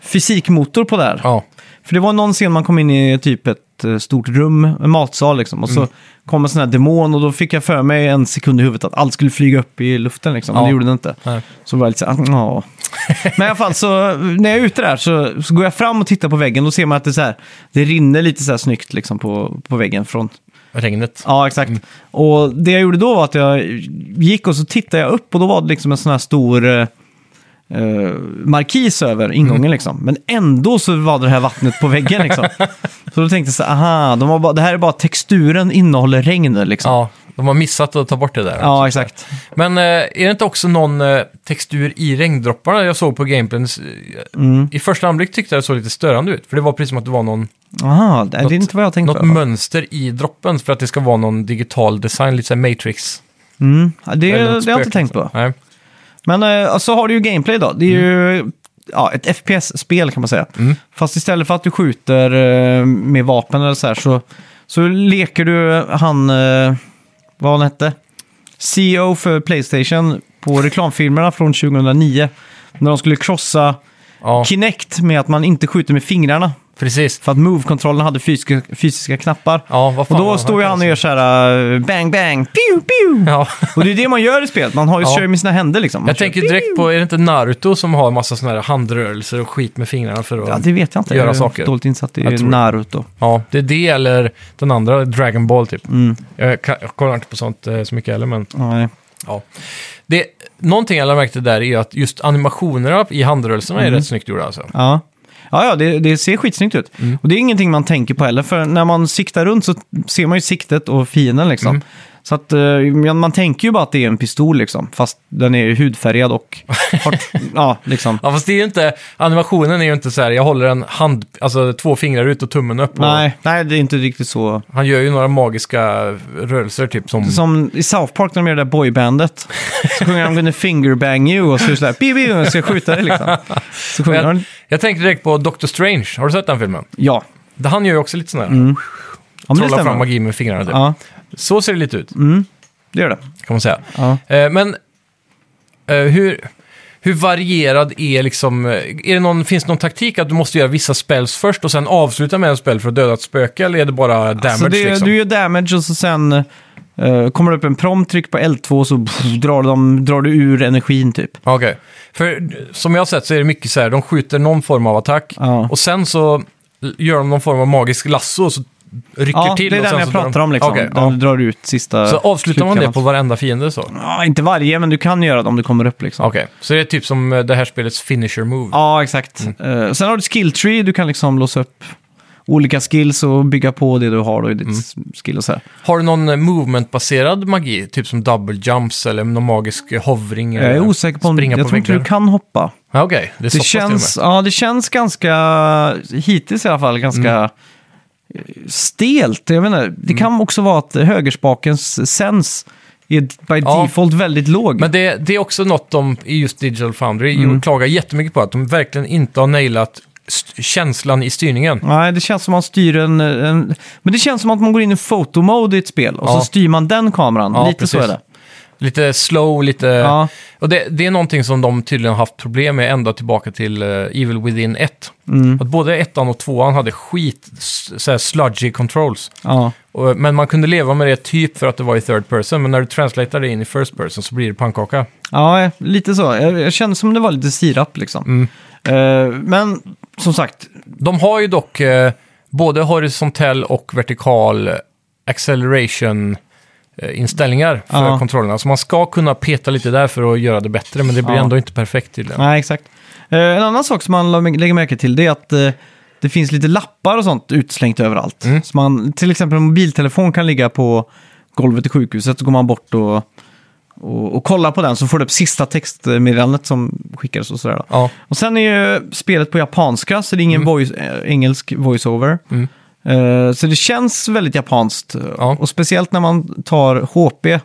S1: fysikmotor på där.
S2: ja.
S1: För det var någon scen man kom in i typ ett eh, stort rum, en matsal liksom, och
S2: Mm.
S1: så kom en sån här demon och då fick jag för mig en sekund i huvudet att allt skulle flyga upp i luften liksom, men
S2: Ja.
S1: det gjorde det inte.
S2: Nej.
S1: Så var jag lite så här, "Ah, ja. Men i alla fall så, när jag är ute där så, så går jag fram och tittar på väggen, då ser man att det, är så här, det rinner lite så här snyggt liksom på, på väggen från
S2: Regnet.
S1: Ja, exakt. Och det jag gjorde då var att jag gick och så tittade jag upp och då var det liksom en sån här stor eh, eh, markis över ingången
S2: Mm.
S1: liksom. Men ändå så var det här vattnet på väggen liksom. så då tänkte jag så här, aha, de har bara, det här är bara texturen innehåller regn liksom. Ja.
S2: Ja, de har missat att ta bort det där.
S1: exakt.
S2: Men eh, är det inte också någon eh, textur i regndropparna jag såg på gameplayen?
S1: Mm.
S2: I första anblick tyckte jag det såg lite störande ut. För det var precis som att det var någon,
S1: Aha, det, det är inte vad jag tänkte.
S2: något
S1: på i alla fall.
S2: mönster i droppen för att det ska vara någon digital design, lite så här Matrix.
S1: Mm. Ja, det, det
S2: Eller
S1: har
S2: något
S1: jag inte
S2: spöke
S1: tänkt
S2: liksom.
S1: på.
S2: Nej.
S1: Men eh, så har du ju gameplay då. Det är
S2: Mm.
S1: ju ja, ett FPS-spel kan man säga. Fast istället för att du skjuter eh, med vapen eller så här så, så leker du han, eh, vad han hette, CEO för Playstation på reklamfilmerna från 2009. När de skulle krossa
S2: Ja,
S1: Kinect med att man inte skjuter med fingrarna.
S2: precis.
S1: För att Move-kontrollen hade fysiska, fysiska knappar.
S2: Ja, vad alltså. fan
S1: och då
S2: var
S1: står ju
S2: det?
S1: han och gör så här eh, bang bang, pew pew.
S2: Ja.
S1: Och det är det man gör i spelet. Man har ju
S2: Ja.
S1: kör ju med sina händer liksom. Man
S2: Jag
S1: kör
S2: tänker direkt på, är det inte Naruto som har massa sådana här handrörelser och skit med fingrarna för att...
S1: Ja, det vet jag inte.
S2: Göra
S1: jag är
S2: saker.
S1: Dåligt insatt
S2: Jag
S1: i
S2: tror det.
S1: Naruto.
S2: Ja, det är det eller den andra, Dragon Ball typ.
S1: Mm.
S2: Jag, kan, jag kollar inte på sånt eh, så mycket heller, men
S1: Nej.
S2: ja. Det, någonting jag märkte där är ju att just animationerna i handrörelserna
S1: Mm.
S2: är rätt snyggt gjorda alltså.
S1: Ja. Ja, ja det, det ser skitsnyggt ut.
S2: Mm.
S1: Och det är ingenting man tänker på heller, för när man siktar runt så ser man ju siktet och fienden liksom.
S2: Mm.
S1: Så att eh, men man tänker ju bara att det är en pistol liksom, fast den är ju hudfärgad och har, ja, liksom.
S2: Ja, fast det är ju inte, animationen är ju inte så här, jag håller en hand, alltså två fingrar ut och tummen upp. Och
S1: Nej, nej, det är inte riktigt så.
S2: han gör ju några magiska rörelser typ som...
S1: Som i South Park när de gör det där boybandet. Så sjunger de gonna fingerbang you och så är det sådär, biu, biu, och ska skjuta dig liksom. Så sjunger
S2: jag,
S1: de,
S2: jag tänker direkt på Doctor Strange, har du sett den filmen?
S1: ja.
S2: Det- Han gör ju också lite sådana här,
S1: Mm. Om det
S2: trollar fram
S1: stämmer.
S2: magi med fingrarna typ.
S1: Ja, Mm.
S2: Så ser det lite ut,
S1: det gör det.
S2: kan man säga.
S1: Ja.
S2: Eh, men eh, hur, hur varierad är liksom... eh, Är det någon, finns det någon taktik att du måste göra vissa spells först och sen avsluta med en spell för att döda ett spöke? Eller är det bara damage
S1: Så Alltså, det,
S2: liksom?
S1: Du gör damage och så sen Eh, kommer det upp en prompt, tryck på L2 och så pff, drar, de, drar du ur energin typ.
S2: Okej. För som jag har sett så är det mycket så här, de skjuter någon form av attack
S1: Ja.
S2: och sen så gör de någon form av magisk lasso och så rycker
S1: Ja,
S2: till.
S1: det är
S2: och
S1: den
S2: sen
S1: jag
S2: så drar
S1: pratar om liksom.
S2: Okej,
S1: Där du drar ut sista
S2: ja. Så avslutar man det på
S1: slutklämman.
S2: varenda fiende så? Okej,
S1: Ja, inte varje, men du kan göra det om du kommer upp liksom.
S2: så det är typ som eh, det här spelets finisher move.
S1: Ja, exakt. Eh, sen har du ett skill tree, du kan liksom låsa upp olika skills och bygga på det du har då i ditt skill och så här.
S2: Har du någon eh, movement-baserad magi? Typ som double jumps eller någon magisk eh, hovring?
S1: Jag är
S2: eller
S1: osäker på om...
S2: springa
S1: Jag
S2: på
S1: tror inte du
S2: väggar?
S1: kan hoppa.
S2: Ja, Okej, det, är så
S1: Det
S2: pass till och med.
S1: känns, ja, det känns ganska, hittills i alla fall, ganska
S2: Mm.
S1: eh, stelt. Jag menar, det kan också vara att högerspakens sens är by
S2: Ja.
S1: default väldigt låg.
S2: Men det, det är också något de i just Digital Foundry mm. klagar jättemycket på, att de verkligen inte har nailat st- känslan i styrningen.
S1: Nej, det känns som man styr en, en... Men det känns som att man går in i fotomode i ett spel och
S2: Ja.
S1: så styr man den kameran.
S2: Ja,
S1: Lite så är
S2: precis.
S1: det.
S2: Lite slow, lite...
S1: Ja.
S2: Och det, det är någonting som de tydligen haft problem med ända tillbaka till eh, Evil Within 1.
S1: Mm.
S2: Att både ettan och tvåan hade skit, s- så här sludgy controls.
S1: Ja.
S2: Och, men man kunde leva med det typ för att det var i third person, men när du translatear det in i first person så blir det pannkaka.
S1: Ja, lite så. Jag, jag kände som det var lite sirap liksom.
S2: Mm.
S1: Eh, men som sagt,
S2: De har ju dock eh, både horisontell och vertikal eh, acceleration-inställningar för
S1: Ja.
S2: kontrollerna. Så man ska kunna peta lite där för att göra det bättre, men det blir
S1: Ja.
S2: ändå inte perfekt tydligen.
S1: nej exakt. Eh, en annan sak som man la- lägger märke till det är att eh, det finns lite lappar och sånt utslängt överallt.
S2: Mm.
S1: Så man, till exempel en mobiltelefon kan ligga på golvet i sjukhuset, så går man bort och, och, och kollar på den så får du upp sista textmeddelandet som skickades och sådär. Då.
S2: Ja.
S1: Och sen är ju spelet på japanska, så det är ingen voice, eh, engelsk voiceover.
S2: Mm.
S1: Eh, så det känns väldigt japanskt.
S2: Ja.
S1: Och speciellt när man tar HP,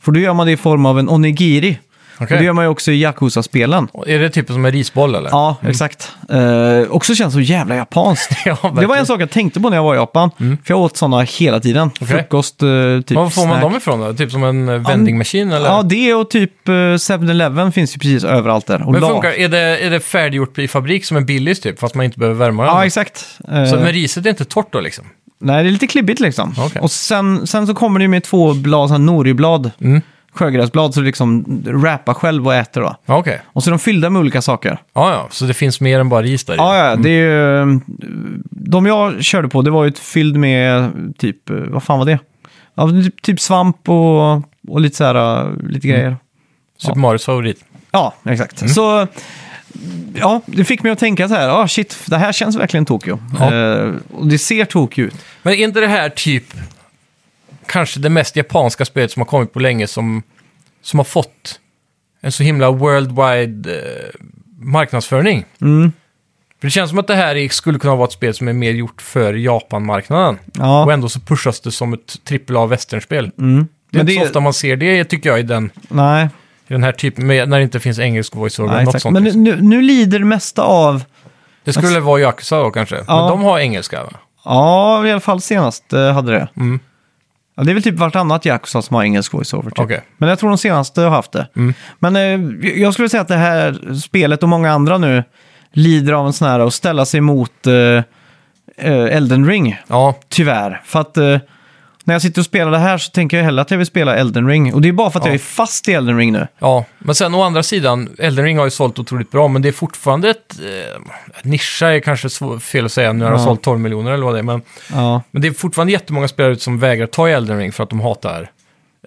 S1: för då gör man det i form av en onigiri.
S2: Okej.
S1: Och det gör man ju också i Yakuza-spelen.
S2: Och Är det typ som en risboll eller?
S1: Ja, exakt. Eh, också känns så jävla japanskt.
S2: Mm.
S1: det
S2: Ja,
S1: var en
S2: verkligen.
S1: sak jag tänkte på när jag var i Japan, för jag åt sådana hela tiden. Frukost, eh, typ
S2: Men Var får man
S1: snack.
S2: dem ifrån då? Typ som en eh, vending machine eller?
S1: Ja, det och typ eh, 7-Eleven finns ju precis överallt där. Och
S2: men
S1: Lars.
S2: funkar, är det, är det färdiggjort i fabrik som en Billys typ, fast man inte behöver värma den?
S1: Ja, exakt. Eh,
S2: så, men riset är inte torrt då liksom?
S1: Nej, det är lite klibbigt liksom.
S2: Okej.
S1: Och sen, sen så kommer det ju med två blad, sådana noriblad,
S2: Mm.
S1: sjögräsblad, så du liksom rappar själv och äter då.
S2: Ja, Okej.
S1: Och så är de fyllda med olika saker.
S2: Ja, ja, så det finns mer än bara ris där i?
S1: Ja, ja, det är ju... De jag körde på, det var ju ett fylld med typ, eh, vad fan var det? Ja, typ- typ svamp och, och lite så här, eh, lite
S2: Mm.
S1: grejer.
S2: Super Marios favorit.
S1: Ja, exakt.
S2: Mm.
S1: Så, ja, det fick mig att tänka så här, ah shit, det här känns verkligen Tokyo.
S2: Ja.
S1: Eh, och det ser Tokyo ut.
S2: Men är inte det här typ kanske det mest japanska spelet som har kommit på länge som, som har fått en så himla worldwide eh, marknadsföring?
S1: Mm.
S2: För det känns som att det här är- skulle kunna vara ett spel som är mer gjort för Japan-marknaden.
S1: Ja. Mm.
S2: Och ändå så pushas det som ett AAA västernspel. Mm. Det är
S1: Men
S2: inte
S1: det-
S2: så ofta man ser det tycker jag i den,
S1: Nej,
S2: i den här typen, med, när det inte finns engelsk voice-over
S1: nej
S2: eller något
S1: exakt.
S2: sånt.
S1: Men
S2: liksom.
S1: nu, nu lider det mesta av
S2: Det skulle vara Yakuza då kanske. Men
S1: Ja. Typ.
S2: de har engelska va?
S1: Ja, i alla fall senast eh, hade det.
S2: Mm.
S1: Ja, det är väl typ vartannat Yakuza som har engelsk voiceover. Typ.
S2: Okej.
S1: Men jag tror de senaste har haft det.
S2: Mm.
S1: Men eh, jag skulle säga att det här spelet och många andra nu lider av en sån här att ställa sig mot eh, eh, Elden Ring.
S2: Ja,
S1: Tyvärr. För att eh, när jag sitter och spelar det här så tänker jag hellre att jag vill spela Elden Ring. Och det är bara för att
S2: Ja.
S1: jag är fast i Elden Ring nu.
S2: Ja, men sen å andra sidan, Elden Ring har ju sålt otroligt bra, men det är fortfarande ett... Eh, nischa är kanske svår, fel att säga när det har
S1: Ja.
S2: sålt 12 miljoner eller vad det är, men,
S1: Ja,
S2: men det är fortfarande jättemånga spelare ut som vägrar ta i Elden Ring för att de hatar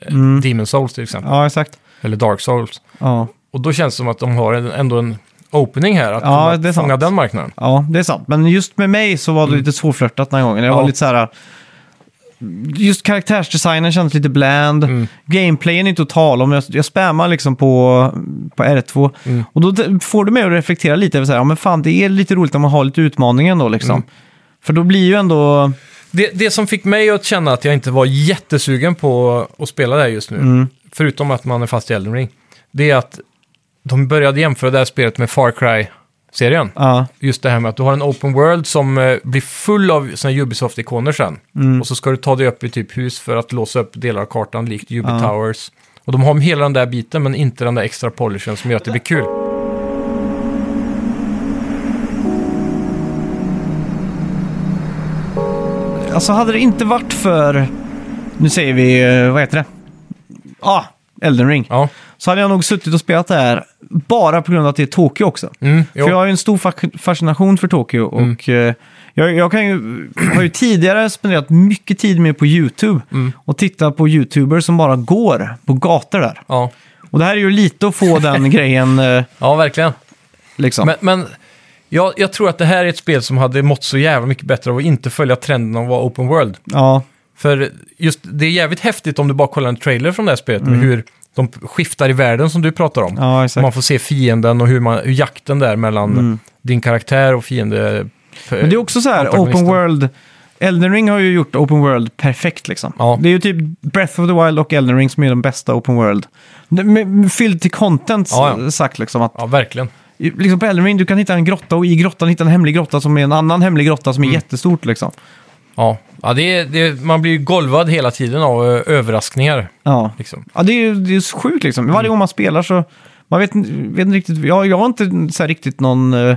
S2: eh, Demon Souls till exempel,
S1: Mm. ja exakt.
S2: eller Dark Souls.
S1: Ja.
S2: Och då känns det som att de har en, ändå en opening här, att
S1: Ja,
S2: kunna
S1: det är sant.
S2: fånga den marknaden.
S1: Ja, det är sant. Men just med mig så var det lite svårflörtat den här gången. Jag var
S2: Mm. Ja.
S1: lite så här... Just karaktärsdesignen kändes lite bland.
S2: Mm.
S1: Gameplayen är inte att tala om. Jag, jag spammar liksom på, på R2.
S2: Mm.
S1: Och då t- får du mig att reflektera lite över så här, ja men fan det är lite roligt om man har lite utmaningen då liksom.
S2: Mm.
S1: För då blir ju ändå...
S2: Det, det som fick mig att känna att jag inte var jättesugen på att spela det här just nu,
S1: Mm.
S2: förutom att man är fast i Elden Ring, det är att de började jämföra det här spelet med Far Cry-serien.
S1: Ja,
S2: just det här med att du har en open world som eh, blir full av såna här Ubisoft-ikoner sen.
S1: Mm.
S2: Och så ska du ta dig upp i typ hus för att låsa upp delar av kartan likt Ubi
S1: Ja.
S2: Towers. Och de har hela den där biten men inte den där extra polishen som gör att det blir kul.
S1: alltså hade det inte varit för nu säger vi, eh, vad heter det? Ja, ah, Elden Ring.
S2: Ja,
S1: Så hade jag nog suttit och spelat det här bara på grund av att det är Tokyo också.
S2: mm,
S1: För
S2: jo. Mm.
S1: jag har ju en stor fac- fascination för Tokyo och eh, jag, jag kan ju, har ju tidigare spenderat mycket tid med på YouTube
S2: Mm.
S1: och titta på YouTubers som bara går på gator där.
S2: ja.
S1: Och det här är ju lite att få den grejen eh,
S2: ja verkligen.
S1: liksom.
S2: Men, men jag, jag tror att det här är ett spel som hade mått så jävla mycket bättre av att inte följa trenden av att vara open world.
S1: ja,
S2: För just det är jävligt häftigt om du bara kollar en trailer från det här spelet med
S1: Mm.
S2: hur de skiftar i världen som du pratar om.
S1: ja, exakt. Mm.
S2: Man får se fienden och hur, man, hur jakten där mellan din karaktär och fiende... eh,
S1: Men det är också så här,
S2: antagonisten.
S1: open world. Elden Ring har ju gjort open world perfekt liksom.
S2: Ja.
S1: Det är ju typ Breath of the Wild och Elden Ring som är de bästa open world. Det- med- med- Fylld till content
S2: Ja, ja.
S1: sagt liksom. Att,
S2: Ja, verkligen.
S1: liksom på Elden Ring du kan hitta en grotta och i grottan hitta en hemlig grotta som är en annan hemlig grotta
S2: Mm.
S1: som är jättestort liksom.
S2: Ja, ja det är, det är, man blir ju golvad hela tiden av eh, överraskningar.
S1: Ja,
S2: Liksom.
S1: ja det är ju det är så sjukt liksom. Varje gång man spelar så, man vet, vet inte riktigt, jag, jag har inte så här riktigt någon eh,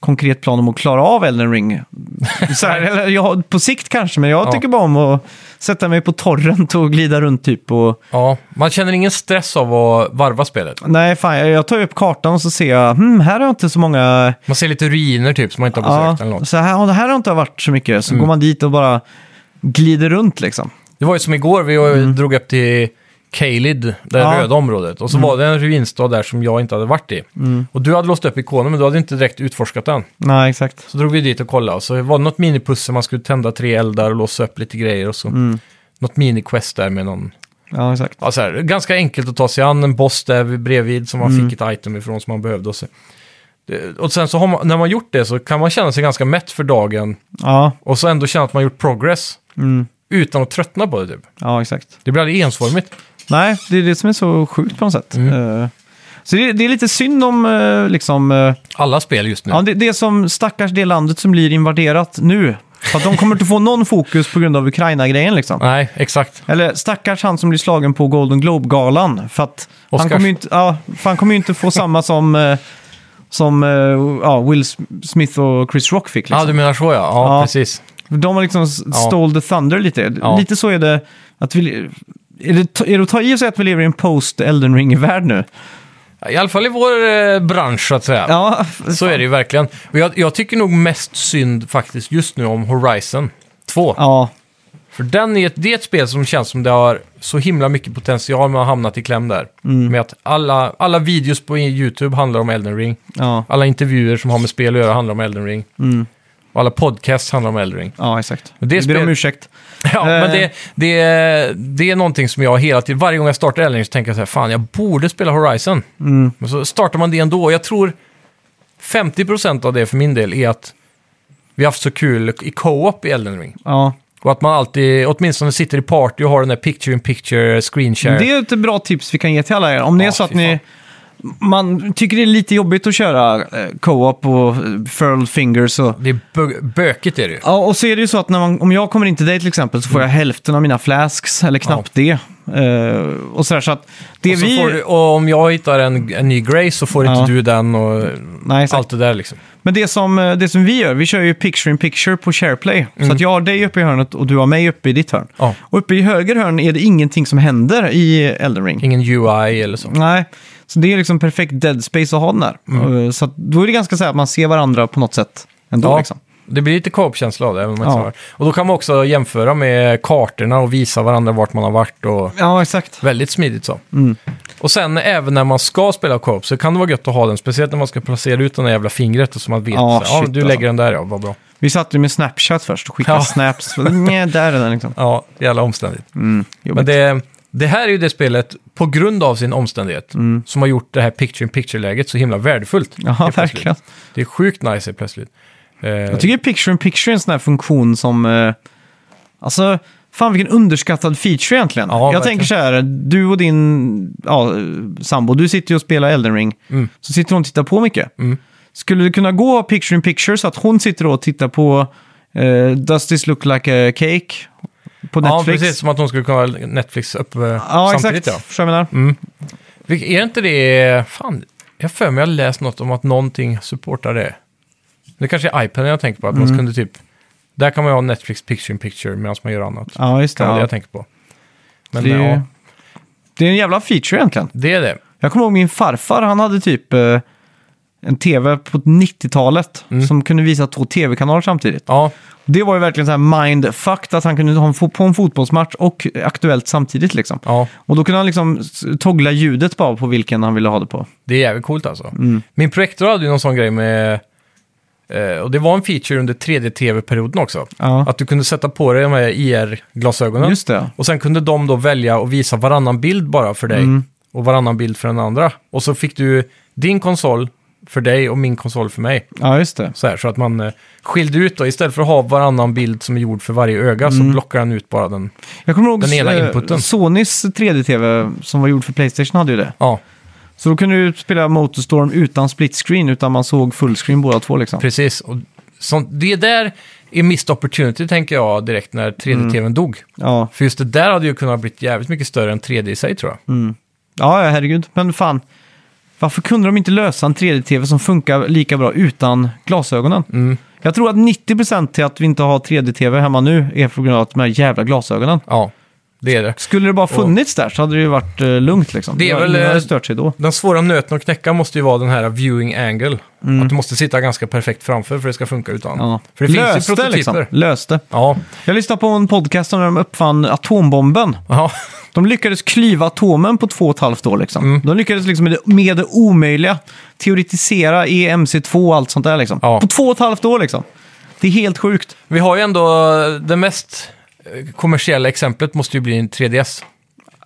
S1: konkret plan om att klara av Elden Ring. Så här, eller, jag, på sikt kanske, men jag
S2: Ja.
S1: tycker bara om att sätta mig på torrent och glida runt typ och...
S2: Ja, man känner ingen stress av att varva spelet.
S1: Nej, fan, jag, jag tar ju upp kartan och så ser jag, hmm, här har jag inte så många...
S2: Man ser lite ruiner typ som man inte
S1: Ja,
S2: har besökt Mm. eller något.
S1: så här, här har inte varit så mycket, så går man dit och bara glider runt liksom.
S2: Det var ju som igår, vi drog upp till Kalid, det
S1: Mm. Ja. Mm.
S2: röda området. Och så var det en ruinstad där som jag inte hade varit i. Och du hade låst upp ikonen men du hade inte direkt utforskat den.
S1: Nej, exakt.
S2: Så drog vi dit och kollade och så var det något minipussel, man skulle tända tre eldar och låsa upp lite grejer och så.
S1: Mm.
S2: Något mini-quest där med någon...
S1: Ja, exakt.
S2: Ja, så här, ganska enkelt att ta sig an, en boss där vid- bredvid som man
S1: Mm.
S2: fick ett item ifrån som man behövde. Och, så. Det- och sen så har man, när man gjort det så kan man känna sig ganska mätt för dagen
S1: Ja,
S2: och så ändå känna att man gjort progress
S1: mm,
S2: utan att tröttna på det typ.
S1: ja exakt.
S2: Det blir aldrig ensformigt.
S1: Nej, det är det som är så sjukt på något sätt. Eh, Så det, det är lite synd om, eh, liksom, eh,
S2: Alla spel just nu.
S1: ja, det, det är som stackars det landet som blir invaderat nu. För att de kommer inte få någon fokus på grund av Ukraina-grejen liksom.
S2: Nej, exakt.
S1: Eller stackars han som blir slagen på Golden Globe-galan. För att han
S2: Oscars.
S1: kommer, ju inte, ja, för han kommer ju inte få samma som, eh, som eh, ja, Will Smith och Chris Rock fick.
S2: Ja,
S1: Liksom.
S2: du menar så ja. Ja,
S1: Ja.
S2: precis.
S1: De har liksom stole the thunder lite.
S2: Ja.
S1: Lite så är det att vi... Är det, är det att ta i och säga att vi lever i en post-Elden Ring-värld nu?
S2: I alla fall i vår eh, bransch så att säga.
S1: Ja,
S2: Så är det ju verkligen. Och jag, jag tycker nog mest synd faktiskt just nu om Horizon 2.
S1: Ja,
S2: För den är ett, det är ett spel som känns som det har så himla mycket potential men har hamnat i kläm där.
S1: Mm.
S2: Med att alla, alla videos på YouTube handlar om Elden Ring.
S1: ja,
S2: Alla intervjuer som har med spel att göra handlar om Elden Ring.
S1: Mm.
S2: Och alla podcasts handlar om Elden Ring.
S1: ja exakt.
S2: Men det
S1: Vi ber
S2: spel-
S1: om ursäkt.
S2: Ja,
S1: Eh.
S2: men det, det, är- det är någonting som jag hela tiden, varje gång jag startar Elden Ring så tänker jag så här, fan jag borde spela Horizon.
S1: Mm.
S2: Men så startar man det ändå. Jag tror 50% av det för min del är att vi har haft så kul i co-op i Elden Ring.
S1: Ja.
S2: Och att man alltid, åtminstone sitter i party och har den där picture in picture screen share.
S1: Det är ett bra tips vi kan ge till alla er. Om det
S2: Ja,
S1: är så att
S2: fy
S1: ni... Man tycker det är lite jobbigt att köra eh, co-op och eh, furled fingers och...
S2: Det är bö- bökigt är det ju.
S1: Ja, och så är det ju så att när man, om jag kommer in till dig till exempel så får
S2: Mm.
S1: jag hälften av mina flasks, eller knappt det. Eh, och sådär, så att det
S2: Och, så
S1: vi...
S2: får du, och om jag hittar en, en ny Grace så får
S1: Ja.
S2: inte du den och
S1: Nej, exakt.
S2: allt det där liksom.
S1: Men det som, eh, det som vi gör, vi kör ju picture in picture på SharePlay. Så att jag har dig uppe i hörnet och du har mig uppe i ditt hörn.
S2: Mm. Ja.
S1: Och uppe i höger hörn är det ingenting som händer i Elden Ring.
S2: Ingen UI eller så.
S1: Nej, så det är liksom perfekt dead space att ha den där.
S2: Mm.
S1: Eh, Så att, då är det ganska så här att man ser varandra på något sätt ändå.
S2: Ja,
S1: Liksom.
S2: Det blir lite co-op-känsla av det. även om man inte
S1: Ja.
S2: har- Och då kan man också jämföra med kartorna och visa varandra vart man har varit. Och
S1: ja exakt.
S2: väldigt smidigt så.
S1: Mm.
S2: Och sen även när man ska spela co-op så kan det vara gött att ha den. Speciellt när man ska placera ut den där jävla fingret och så man vet.
S1: Ja,
S2: så, här, ja
S1: shit,
S2: du lägger
S1: alltså.
S2: den där ja, vad bra.
S1: Vi satt ju med Snapchat först och skickade
S2: Ja.
S1: snaps. Nej, där är den liksom.
S2: Ja, jävla omständigt.
S1: Jobbigt.
S2: Men det, det här är ju det spelet, på grund av sin omständighet, som har gjort det här picture-in-picture-läget så himla värdefullt.
S1: Mm. Ja,
S2: helt plötsligt.
S1: verkligen.
S2: Det är sjukt nice helt plötsligt. Eh,
S1: Jag tycker picture in picture är en sån här funktion som... Eh, alltså, fan vilken underskattad feature egentligen.
S2: Ja,
S1: jag
S2: verkligen.
S1: tänker så här, du och din ja, sambo, du sitter ju och spelar Elden Ring.
S2: Mm.
S1: Så sitter hon och tittar på mycket. Skulle det kunna gå picture in picture så att hon sitter och tittar på eh, Does this look like a cake? På
S2: ja,
S1: Netflix.
S2: precis. Som att de skulle kunna ha Netflix uppe
S1: Ja,
S2: samtidigt. Mm.
S1: exakt. Förstår du vad jag menar?
S2: Ja. Vilk- Är inte det... Fan, jag har för mig jag har läst något om att någonting supportar det. Det kanske är iPaden jag tänker på, att
S1: Mm.
S2: man kunde typ... Där kan man ju ha Netflix picture-in-picture medan man gör annat.
S1: Ja, just det.
S2: kan vara det
S1: Ja.
S2: jag tänker på. Men
S1: Det är, ju-
S2: ja,
S1: det är en jävla feature egentligen.
S2: det är det.
S1: Jag kommer ihåg min farfar, han hade typ eh, en tv på 90-talet
S2: Mm.
S1: som kunde visa två tv-kanaler samtidigt.
S2: Ja,
S1: Det var ju verkligen så här mindfucked att han kunde ha en fo- på en fotbollsmatch och Aktuellt samtidigt liksom.
S2: ja.
S1: Och då kunde han liksom s- toggla ljudet bara på vilken han ville ha det på.
S2: Det är jävligt coolt alltså.
S1: Mm.
S2: Min projektor hade ju någon sån grej med... eh, Och det var en feature under 3D-tv-perioden också.
S1: Ja,
S2: Att du kunde sätta på dig de här E IR-glasögonen.
S1: just det.
S2: Och sen kunde de då välja att visa varannan bild bara för dig.
S1: Mm.
S2: Och varannan bild för den andra. Och så fick du din konsol för dig och min konsol för mig.
S1: Ja, just det.
S2: Så, här, så att man eh, skilde ut då, istället för att ha varannan bild som är gjord för varje öga så blockar den ut bara den.
S1: Jag kommer ihåg
S2: Den ena
S1: eh,
S2: inputen.
S1: Sonys 3D-tv som var gjord för Playstation hade ju det.
S2: Ja,
S1: Så då kunde du spela Motorstorm utan split screen, utan man såg full screen båda två liksom.
S2: precis. Och sånt, det där är missed opportunity tänker jag direkt när 3D-tvn dog.
S1: Ja.
S2: För just det där hade ju kunnat bli jävligt mycket större än 3D i sig tror jag.
S1: Ja, ja, herregud. Men fan, varför kunde de inte lösa en 3D-TV som funkar lika bra utan glasögonen?
S2: Mm.
S1: Jag tror att 90% till att vi inte har 3D-TV hemma nu är på grund av att de här jävla glasögonen.
S2: Ja, det är det.
S1: Skulle det bara funnits där så hade det ju varit eh, lugnt liksom.
S2: Det är väl,
S1: Ingen
S2: eh,
S1: hade stört sig då.
S2: Den svåra nöten att knäcka måste ju vara den här viewing angle. Att du måste sitta ganska perfekt framför för det ska funka utan.
S1: Mm. Ja.
S2: För det finns
S1: Löste,
S2: ju prototyper.
S1: liksom. Löste.
S2: Ja,
S1: Jag lyssnade på en podcast om när de uppfann atombomben.
S2: ja.
S1: De lyckades klyva atomen på två och ett halvt år. Liksom. De lyckades liksom med, det, med det omöjliga teoretisera EMC2 och allt sånt där. Liksom.
S2: Ja.
S1: På två och ett halvt år liksom. Det är helt sjukt.
S2: Vi har ju ändå det mest eh, kommersiella exemplet måste ju bli en 3DS.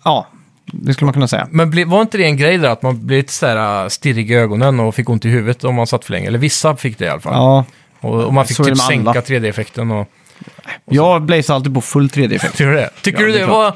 S1: Ja, det skulle man kunna säga.
S2: Men ble, var inte det en grej där att man blev lite så här eh, stirrig i ögonen och fick ont i huvudet om man satt för länge? Eller vissa fick det i alla fall.
S1: Ja,
S2: Och, och man fick
S1: Så är det
S2: typ
S1: med
S2: sänka
S1: alla.
S2: 3D-effekten och...
S1: jag blazear alltid på full 3D-effekt.
S2: Tycker du det? Tycker
S1: Ja,
S2: du
S1: det
S2: det,
S1: är
S2: var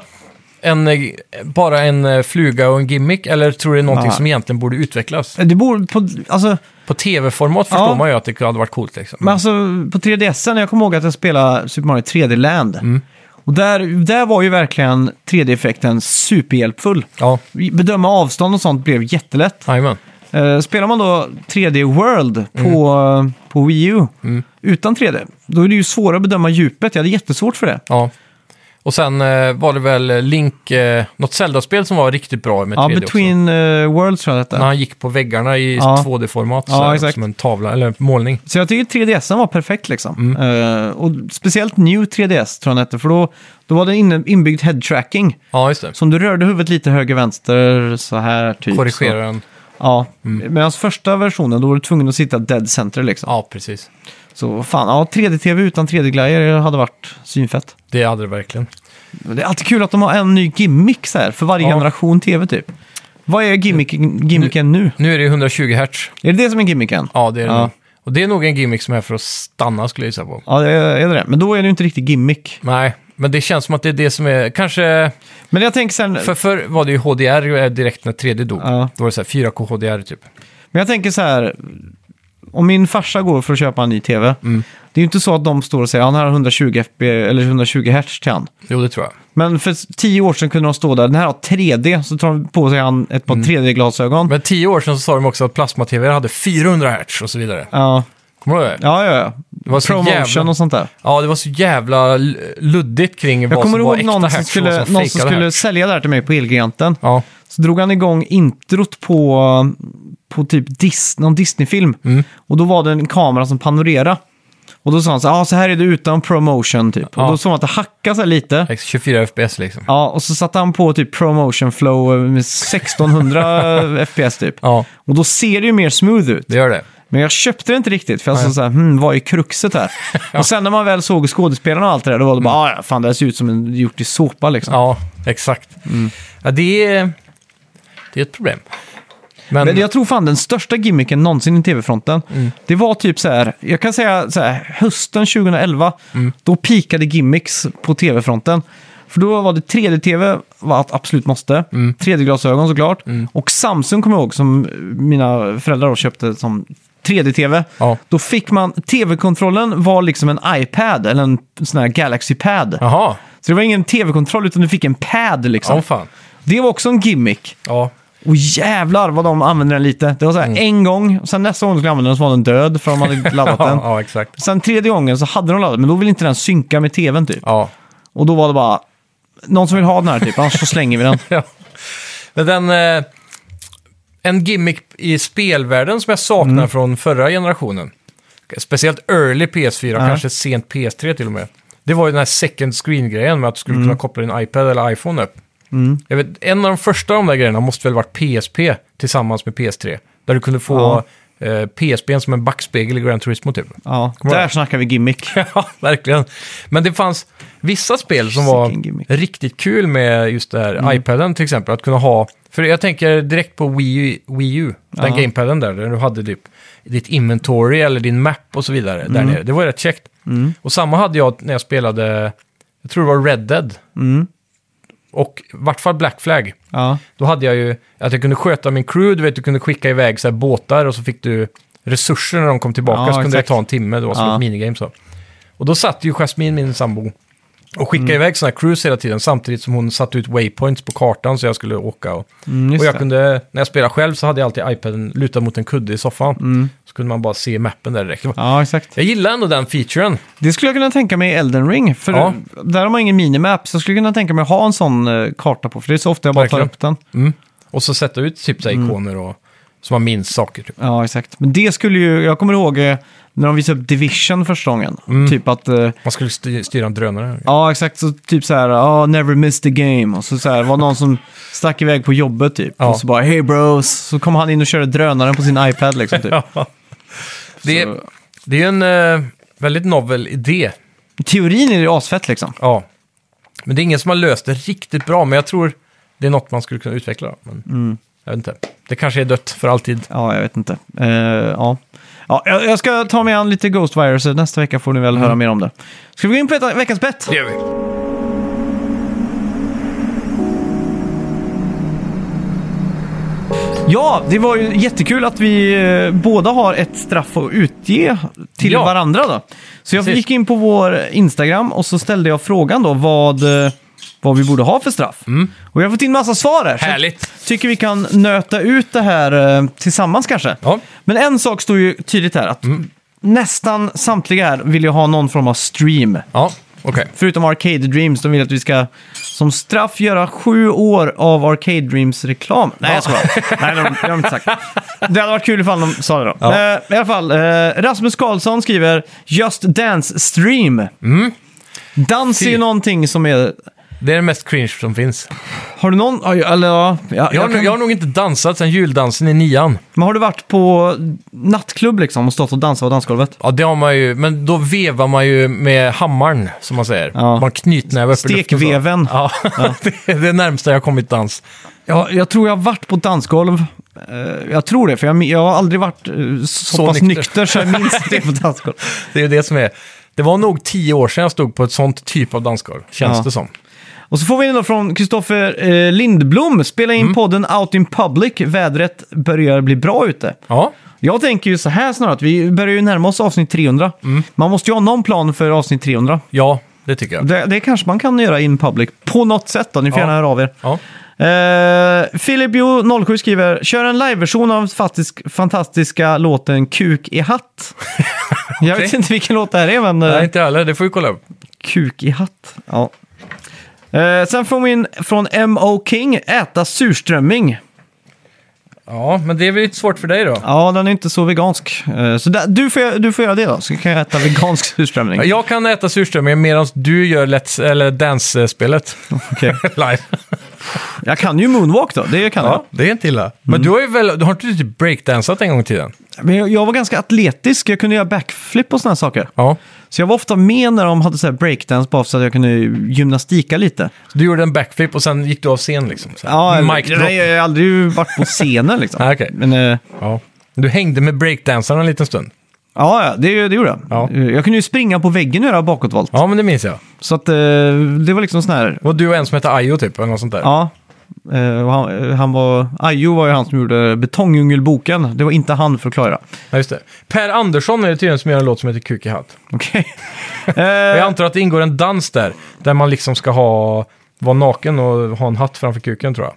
S2: en, eh, bara en eh, fluga och en gimmick? Eller tror du det är någonting
S1: Nej.
S2: som egentligen borde utvecklas?
S1: Det borde på, alltså,
S2: På tv-format förstår man ju att det hade varit coolt liksom.
S1: men alltså, på 3DSen, jag kommer ihåg att jag spelade Super Mario 3D-land. Och där, där var ju verkligen 3D-effekten superhjälpfull.
S2: Ja,
S1: Bedöma avstånd och sånt blev jättelätt.
S2: jajamän.
S1: Eh, spelar man då 3D World på,
S2: Mm.
S1: på Wii U utan 3D, då är det ju svårare att bedöma djupet. Jag hade jättesvårt för det.
S2: Ja. Och sen eh, var det väl Link, eh, något Zelda-spel som var riktigt bra med
S1: Ja,
S2: 3D också.
S1: Between eh, Worlds tror jag det hette.
S2: När han gick på väggarna i
S1: Ja.
S2: 2D-format,
S1: Ja,
S2: så här,
S1: exakt.
S2: som en tavla eller en målning.
S1: Så jag tycker 3DSen var perfekt liksom.
S2: Mm.
S1: Eh, och speciellt New 3DS tror jag den hette, för då, då var det inne, inbyggd head tracking.
S2: Ja, just det.
S1: Så om du rörde huvudet lite höger-vänster så här typ.
S2: Korrigera
S1: Så,
S2: den.
S1: ja, medan första versionen då var du tvungen att sitta dead center liksom.
S2: Mm. Ja, precis.
S1: Så fan, ja 3D-TV utan 3D-glajjor hade varit synfett.
S2: Det hade det verkligen.
S1: Men Det är alltid kul att de har en ny gimmick så här, för varje
S2: Ja.
S1: generation tv typ. Vad är gimmicken, gimmicken nu?
S2: Nu är det ju 120 hertz.
S1: Är det det som är gimmicken?
S2: Ja, det är det
S1: Ja.
S2: nu. Och det är nog en gimmick som är för att stanna, skulle jag gissa på.
S1: Ja, det är är det det. Men då är det ju inte riktigt gimmick.
S2: Nej, men det känns som att det är det som är... Kanske...
S1: Men jag tänker sen,
S2: För förr var det ju HDR eh, direkt när 3D dog.
S1: Ja.
S2: Då var det så här 4K HDR typ.
S1: men jag tänker så här, om min farsa går för att köpa en ny tv,
S2: Mm.
S1: det är ju inte så att de står och säger han har 120 FB, eller 120 hertz till han.
S2: Jo, det tror jag.
S1: Men för tio år sedan kunde de stå där, den här har 3D, så tar de på sig han ett par 3D-glasögon.
S2: Mm. Men tio år sedan så sa de också att plasma-tv hade 400 hertz och så vidare.
S1: Ja,
S2: Kommer du ihåg det?
S1: ja, ja. ja.
S2: var så
S1: Promotion
S2: jävla-
S1: och sånt där.
S2: Ja, det var så jävla l- luddigt kring
S1: Jag
S2: vad
S1: kommer
S2: som var
S1: ihåg
S2: äkta
S1: någon som
S2: hertz och
S1: skulle,
S2: vad som
S1: någon som
S2: fejkade
S1: skulle
S2: hertz.
S1: sälja det här till mig på Elgiganten.
S2: Ja,
S1: Så drog han igång introt på, på typ Dis, någon Disney-film.
S2: Mm.
S1: Och då var det en kamera som panorerade. Och då sa han så här, ah, så här är det utan promotion typ.
S2: Ja.
S1: Och då såg man att det hackade så här lite.
S2: 24 fps liksom.
S1: Ja, och så satte han på typ promotion flow med 1600 FPS typ.
S2: Ja,
S1: Och då ser det ju mer smooth ut.
S2: det gör det.
S1: Men jag köpte det inte riktigt, för jag sa så här, hmm, vad är kruxet här? Och sen när man väl såg skådespelarna och allt det där, då var det
S2: Mm.
S1: bara, ah, ja, fan det här ser ut som en gjort i såpa liksom.
S2: Ja, exakt.
S1: Mm.
S2: Ja, det är, det är ett problem. Men,
S1: Men jag tror fan den största gimmicken någonsin i tv-fronten,
S2: Mm.
S1: det var typ så här, jag kan säga så här, hösten 2011,
S2: Mm.
S1: då pikade gimmicks på tv-fronten. För då var det 3D-tv, var att absolut måste.
S2: Mm.
S1: 3D-glasögon såklart. Och Samsung kommer jag ihåg, som mina föräldrar då köpte som 3D-tv.
S2: Ja.
S1: Då fick man, tv-kontrollen var liksom en iPad eller en sån här Galaxy-pad.
S2: Jaha,
S1: Så det var ingen tv-kontroll utan du fick en pad liksom.
S2: åh fan.
S1: Det var också en gimmick.
S2: Ja,
S1: Och jävlar vad de använde den lite. Det var så
S2: Mm.
S1: här en gång, och sen nästa gång de skulle använda den så var den död för de hade laddat den.
S2: ja exakt.
S1: Sen tredje gången så hade de laddat, men då ville inte den synka med tvn typ.
S2: Ja,
S1: Och då var det bara, någon som vill ha den här typ, annars så slänger vi den.
S2: Ja. Men den, eh, en gimmick i spelvärlden som jag saknar från förra generationen. Speciellt early PS4,
S1: Ja.
S2: kanske sent PS3 till och med. Det var ju den här second screen-grejen med att du skulle kunna koppla din iPad eller iPhone upp. Jag vet, en av de första av de där grejerna måste väl varit PSP tillsammans med PS3. Där du kunde få eh, PSPn som en backspegel i Gran Turismo typ.
S1: Ja,
S2: Kommer
S1: där
S2: ihåg?
S1: snackar vi gimmick.
S2: Ja, verkligen. Men det fanns vissa spel som var
S1: Sicken gimmick. Mm.
S2: riktigt kul med just det här iPaden till exempel. Att kunna ha, för jag tänker direkt på Wii U, Wii U den
S1: Ja.
S2: gamepaden där, där du hade typ ditt inventory eller din map och så vidare där
S1: Mm.
S2: nere. Det var rätt käckt. Och samma hade jag när jag spelade, jag tror det var Red Dead.
S1: Mm.
S2: Och i vart fall Black Flag.
S1: Ja.
S2: Då hade jag ju att jag kunde sköta min crew, du vet du kunde skicka iväg så här båtar och så fick du resurser när de kom tillbaka
S1: Ja,
S2: så kunde
S1: exakt.
S2: det ta en timme, det var som
S1: Ja.
S2: ett minigame så. Och då satt ju Jasmine, min sambo, och skickade
S1: Mm.
S2: iväg sådana här crews hela tiden samtidigt som hon satte ut waypoints på kartan så jag skulle åka. Och,
S1: Mm, just
S2: och jag
S1: det.
S2: kunde, när jag spelade själv så hade jag alltid iPaden lutad mot en kudde i soffan.
S1: Mm.
S2: Så kunde man bara se mappen där direkt. Det var-
S1: Ja, exakt.
S2: Jag gillar ändå den featuren.
S1: Det skulle jag kunna tänka mig i Elden Ring. För
S2: Ja.
S1: där har man ingen minimap, så jag skulle kunna tänka mig att ha en sån eh, karta på. För det är så ofta jag bara tar
S2: Verkligen.
S1: upp den.
S2: Och så sätta ut typ så här
S1: Mm.
S2: ikoner och, så man minns saker. Typ.
S1: Ja, exakt. Men det skulle ju, jag kommer ihåg eh, när de visade upp Division första gången.
S2: Mm.
S1: Typ att, eh,
S2: Man skulle sty- styra en drönare.
S1: ja exakt, så typ så här, "Ah, never miss the game. Och så, så här, var någon som stack iväg på jobbet typ.
S2: Ja.
S1: Och så bara, hey bros. Så kom han in och körde drönaren på sin iPad liksom. Typ.
S2: Det,
S1: Så-
S2: det är ju en eh, väldigt novel idé.
S1: Teorin är ju asfett liksom.
S2: Ja. Men det är ingen som har löst det riktigt bra, men jag tror det är något man skulle kunna utveckla. Men
S1: Mm.
S2: Jag vet inte. Det kanske är dött för alltid.
S1: Ja, jag vet inte. Eh, ja. Ja, jag jag ska ta mig an lite Ghostwire, så nästa vecka får ni väl höra mer om det. Ska vi gå in på ett- veckans bett?
S2: Det gör vi.
S1: Ja, det var ju jättekul att vi eh, båda har ett straff att utge till
S2: Ja.
S1: varandra. Då. Så jag
S2: Precis.
S1: gick in på vår Instagram och så ställde jag frågan då vad, eh, vad vi borde ha för straff. Och jag har fått in massa svar här. så
S2: Mm. Härligt.
S1: jag Tycker vi kan nöta ut det här eh, tillsammans kanske.
S2: Ja. Mm.
S1: Men en sak står ju tydligt här. att Nästan samtliga här vill ju ha någon form av stream.
S2: Ja, okej.
S1: Förutom Arcade Dreams, de vill att vi ska som straff göra sju år av Arcade Dreams-reklam. Nej, jag skojar. Nej, de, de har inte sagt. Det hade varit kul ifall de sa det då.
S2: Ja.
S1: Eh, I alla fall, eh, Rasmus Karlsson skriver Just Dance Stream. Dans är ju
S2: Mm. Fy.
S1: någonting som är...
S2: Det är det mest cringe som finns.
S1: Har du någon... Oj, Eller ja... ja
S2: Jag,
S1: jag
S2: har
S1: kan,
S2: jag har nog inte dansat sedan juldansen i nian.
S1: Men har du varit på nattklubb liksom och stått och dansat på dansgolvet?
S2: Ja, det har man ju. Men då vevar man ju med hammaren, som man säger.
S1: Ja.
S2: Man knytnävar upp i luften så.
S1: Stekveven.
S2: Ja, det är det närmsta jag har kommit dans.
S1: Ja, jag tror jag har varit på ett dansgolv. Eh, Jag tror det, för jag, jag har aldrig varit eh, så,
S2: Så
S1: pass
S2: nykter.
S1: nykter så jag minns det på ett dansgolv.
S2: Det är ju det som är... Det var nog tio år sedan jag stod på ett sånt typ av dansgolv, känns
S1: Ja.
S2: det som.
S1: Och så får vi en då från Kristoffer eh, Lindblom. Spela in podden Out in Public. Vädret börjar bli bra ute.
S2: Ja,
S1: Jag tänker ju så här snarare, att vi börjar ju närma oss avsnitt 300. Man måste ju ha någon plan för avsnitt 300.
S2: ja det tycker jag.
S1: Det, det kanske man kan göra in public på något sätt då. Ni får
S2: Ja.
S1: gärna höra av er.
S2: Ja.
S1: Eh, Philip Jo 07 skriver, kör en liveversion av faktisk, fantastiska låten Kuk i hatt. Jag vet
S2: Okej.
S1: inte vilken låt det här är, men... eh,
S2: Nej, inte jag heller. Det får vi kolla upp.
S1: Kuk i hatt. Ja. Eh, sen får vi in från M.O. King, äta surströmming.
S2: Ja, men det är väl lite svårt för dig då?
S1: Ja, den är inte så vegansk. Eh, så där, du, får, du får göra det då, så kan jag äta vegansk surströmming.
S2: Jag kan äta surströmming medan du gör let's, eller dance-spelet
S1: Okej.
S2: live.
S1: Jag kan ju moonwalk då, det kan
S2: Ja, det är inte illa. Men du har ju väl, du har inte du typ breakdansat en gång i tiden?
S1: jag. Men jag, jag var ganska atletisk, jag kunde göra backflip och sådana saker.
S2: Ja.
S1: Så jag var ofta med när de hade så här breakdance bara så att jag kunde gymnastika lite.
S2: Så du gjorde en backflip och sen gick du av scen liksom? Så här,
S1: Ja,
S2: Mic drop.
S1: nej, jag har aldrig varit på scenen liksom.
S2: Nej, okej.
S1: Men, eh,
S2: Ja. Du hängde med breakdansarna en liten stund?
S1: ja, ja, det, det gjorde jag.
S2: Ja.
S1: Eh, Jag kunde ju springa på väggen och göra bakåtvolt.
S2: Ja, men det minns jag.
S1: Så att eh, det var liksom sån här,
S2: Och du och en som hette Ayo typ, eller något sånt där?
S1: ja. Eh, och han, eh, han var, Ajo var ju han som gjorde Betongjungelboken. Det var inte han för att klara.
S2: Ja, just det. Per Andersson är det tydligen som gör en låt som heter Kuk i hatt.
S1: Okej.
S2: Och Jag
S1: eh,
S2: antar att det ingår en dans där, där man liksom ska ha, vara naken och ha en hatt framför kuken tror jag.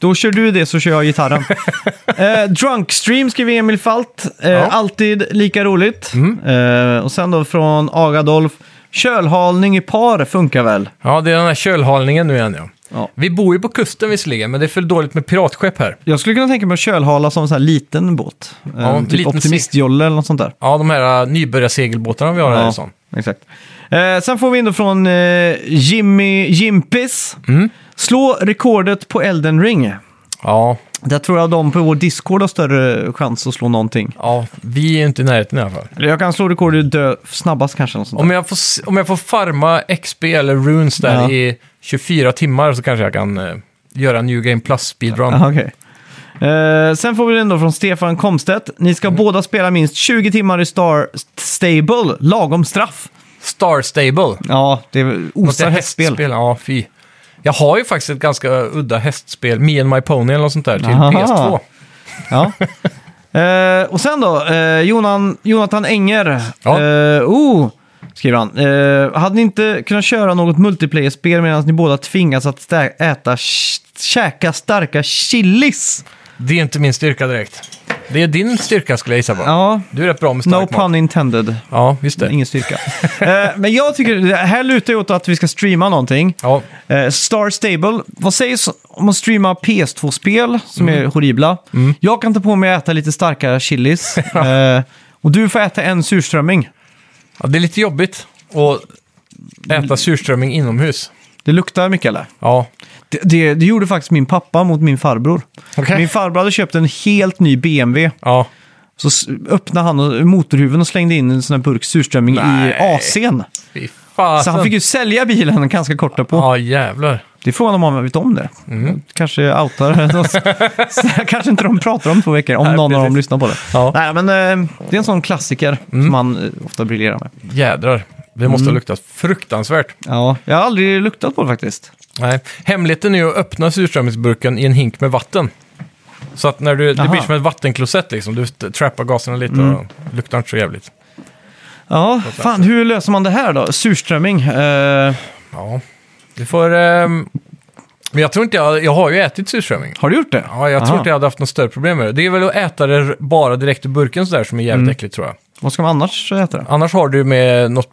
S1: då kör du det så kör jag gitarren. eh, Drunkstream skriver Emil Falt. Eh,
S2: Ja. Mm.
S1: Alltid lika roligt. Eh, och sen då från Agadolf. Kölhalning i par funkar väl?
S2: Ja, det är den här kölhalningen nu igen ja.
S1: Ja.
S2: Vi bor ju på kusten visserligen, men det är för dåligt med piratskepp här.
S1: Jag skulle kunna tänka mig att kölhala som en sån här liten båt.
S2: Ja,
S1: Eh, typ
S2: liten
S1: optimistjolle eller något sånt där.
S2: Ja, de här uh, nybörjarsegelbåtarna vi har här i sån.
S1: exakt. Eh, sen får vi in då från eh, Jimmy Jimpis.
S2: Mm.
S1: Slå rekordet på Elden Ring.
S2: Ja,
S1: Där tror jag de på vår Discord har större chans att slå någonting.
S2: ja, vi är ju inte i närheten i alla fall.
S1: Eller jag kan slå rekordet i dö snabbast kanske. Något sånt där.
S2: Om jag, får, s- om jag får farma XP eller runes där
S1: Ja.
S2: i 24 timmar så kanske jag kan eh, göra en New Game Plus speedrun.
S1: Aha, okej. Eh, sen får vi den då från Stefan Komstedt. Ni ska båda spela minst 20 timmar i Star Stable, lagom straff.
S2: Star Stable.
S1: Ja, det är
S2: Något
S1: osar
S2: där
S1: hästspel.
S2: Ja, fy. Jag har ju faktiskt ett ganska udda hästspel, Me and My Pony eller något sånt där, till
S1: Aha.
S2: PS2.
S1: Ja. Eh, och sen då, eh, Jonan, Jonathan Enger.
S2: Ja.
S1: Eh, oh, skriver han. Eh, hade ni inte kunnat köra något multiplayer-spel medan ni båda tvingas att stä- äta, sh- käka starka chilis?
S2: Det är inte min styrka direkt. Det är din styrka skulle jag gissa på.
S1: Ja,
S2: Du är rätt bra med
S1: no
S2: stark mat.
S1: pun intended.
S2: Ja, just det.
S1: Ingen styrka. Eh, men jag tycker, det här lutar ju åt att vi ska streama någonting.
S2: Ja,
S1: Eh, Star Stable, vad sägs om att streama PS2-spel som
S2: Mm.
S1: är horribla? Jag kan ta på mig att äta lite starka chilis. eh, och du får äta en surströmming.
S2: Ja, det är lite jobbigt att äta surströmming inomhus.
S1: Det luktar mycket eller?
S2: Ja,
S1: Det, det, det gjorde faktiskt min pappa mot min farbror.
S2: Okej.
S1: Min farbror hade köpt en helt ny BMW.
S2: ja.
S1: Så s- öppnade han och- motorhuven och slängde in en sån här burk surströmming i
S2: Nej.
S1: AC'n.
S2: Fy fasen.
S1: Så han fick ju sälja bilen ganska kort därpå.
S2: Ja, jävlar.
S1: Det är frågan om han vet om det.
S2: Mm.
S1: Kanske outar oss. Så Kanske inte de pratar om två veckor, om
S2: Nej,
S1: någon av dem
S2: precis.
S1: lyssnar på det.
S2: Ja. Mm.
S1: Nej, men eh, det är en sån klassiker som man eh, ofta briljerar med.
S2: Jädrar. Det måste
S1: Mm.
S2: ha luktat fruktansvärt.
S1: Ja, jag har aldrig luktat på det faktiskt.
S2: Nej. Hemligheten är ju att öppna surströmmingsburken i en hink med vatten. Så att när du, det
S1: Aha. Mm.
S2: blir som ett vattenklosett liksom. Du trappar gaserna lite och luktar inte så jävligt.
S1: Ja, fan hur löser man det här då? Surströmming. Eh,
S2: Ja, du får... ehm, Men jag tror inte jag... Jag har ju ätit surströmming.
S1: har du gjort det?
S2: Ja, jag
S1: Aha.
S2: tror inte jag hade haft något större problem med det. Det är väl att äta det r- bara direkt ur burken sådär som är jävligt
S1: Mm.
S2: äckligt tror jag.
S1: Vad ska man annars äta då?
S2: Annars har du med något,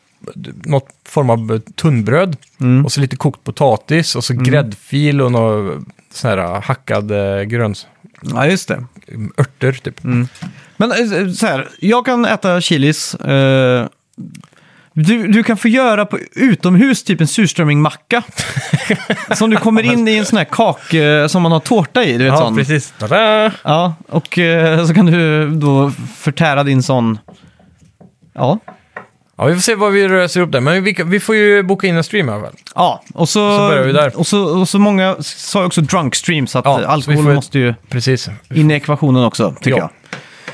S2: något form av tunnbröd
S1: Mm.
S2: och så lite kokt potatis och så gräddfil och några sån här hackad eh, gröns...
S1: Ja, just det.
S2: örter typ.
S1: Men eh, så här, jag kan äta chilis. Eh, du, du kan få göra på utomhus typ en surströmmingmacka. som du kommer in i en sån här kak eh, som man har tårta i. Du vet, sån.
S2: precis. Tada!
S1: Ja, och eh, så kan du då förtära din sån... Ja.
S2: Ja, vi får se vad vi röser upp där. Men vi, vi får ju boka in en stream i alla fall.
S1: ja och, så,
S2: Så börjar vi där.
S1: Och så, och så många sa ju också drunk stream, så att
S2: Ja,
S1: eh,
S2: så
S1: alkohol
S2: vi får-
S1: måste ju
S2: Precis.
S1: in i ekvationen också, tycker
S2: Ja.
S1: jag.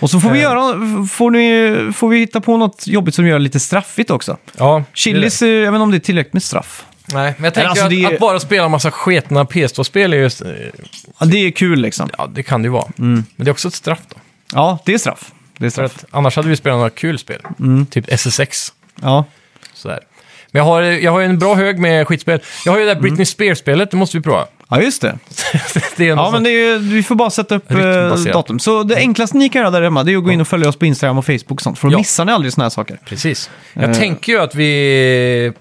S1: Och så får vi
S2: Eh.
S1: göra, får, ni, får vi hitta på något jobbigt som gör det lite straffigt också.
S2: Ja,
S1: Chilis, eh, jag vet inte om det är tillräckligt med straff.
S2: Nej, men jag tänker
S1: alltså,
S2: att,
S1: det är-
S2: att bara spela en massa sketna PS2-spel är just... eh,
S1: Ja, det är kul liksom.
S2: Ja, det kan det ju vara. Men det är också ett straff då.
S1: Ja, det är straff. Det är
S2: För
S1: straff.
S2: att annars hade vi spelat några kul spel. Typ SSX.
S1: Ja.
S2: Sådär. Men jag har, jag har ju en bra hög med skitspel. Jag har ju det där Britney Spears-spelet, det måste vi prova.
S1: ja, just det.
S2: det är
S1: Ja, men det är, vi får bara sätta upp eh,
S2: Rytmbaserat.
S1: datum. Så det enklaste ni kan göra där hemma det är att gå in och följa oss på Instagram och Facebook och sånt. För då
S2: Mm. Ja.
S1: missar ni aldrig såna här saker.
S2: Precis. Jag tänker ju att vi,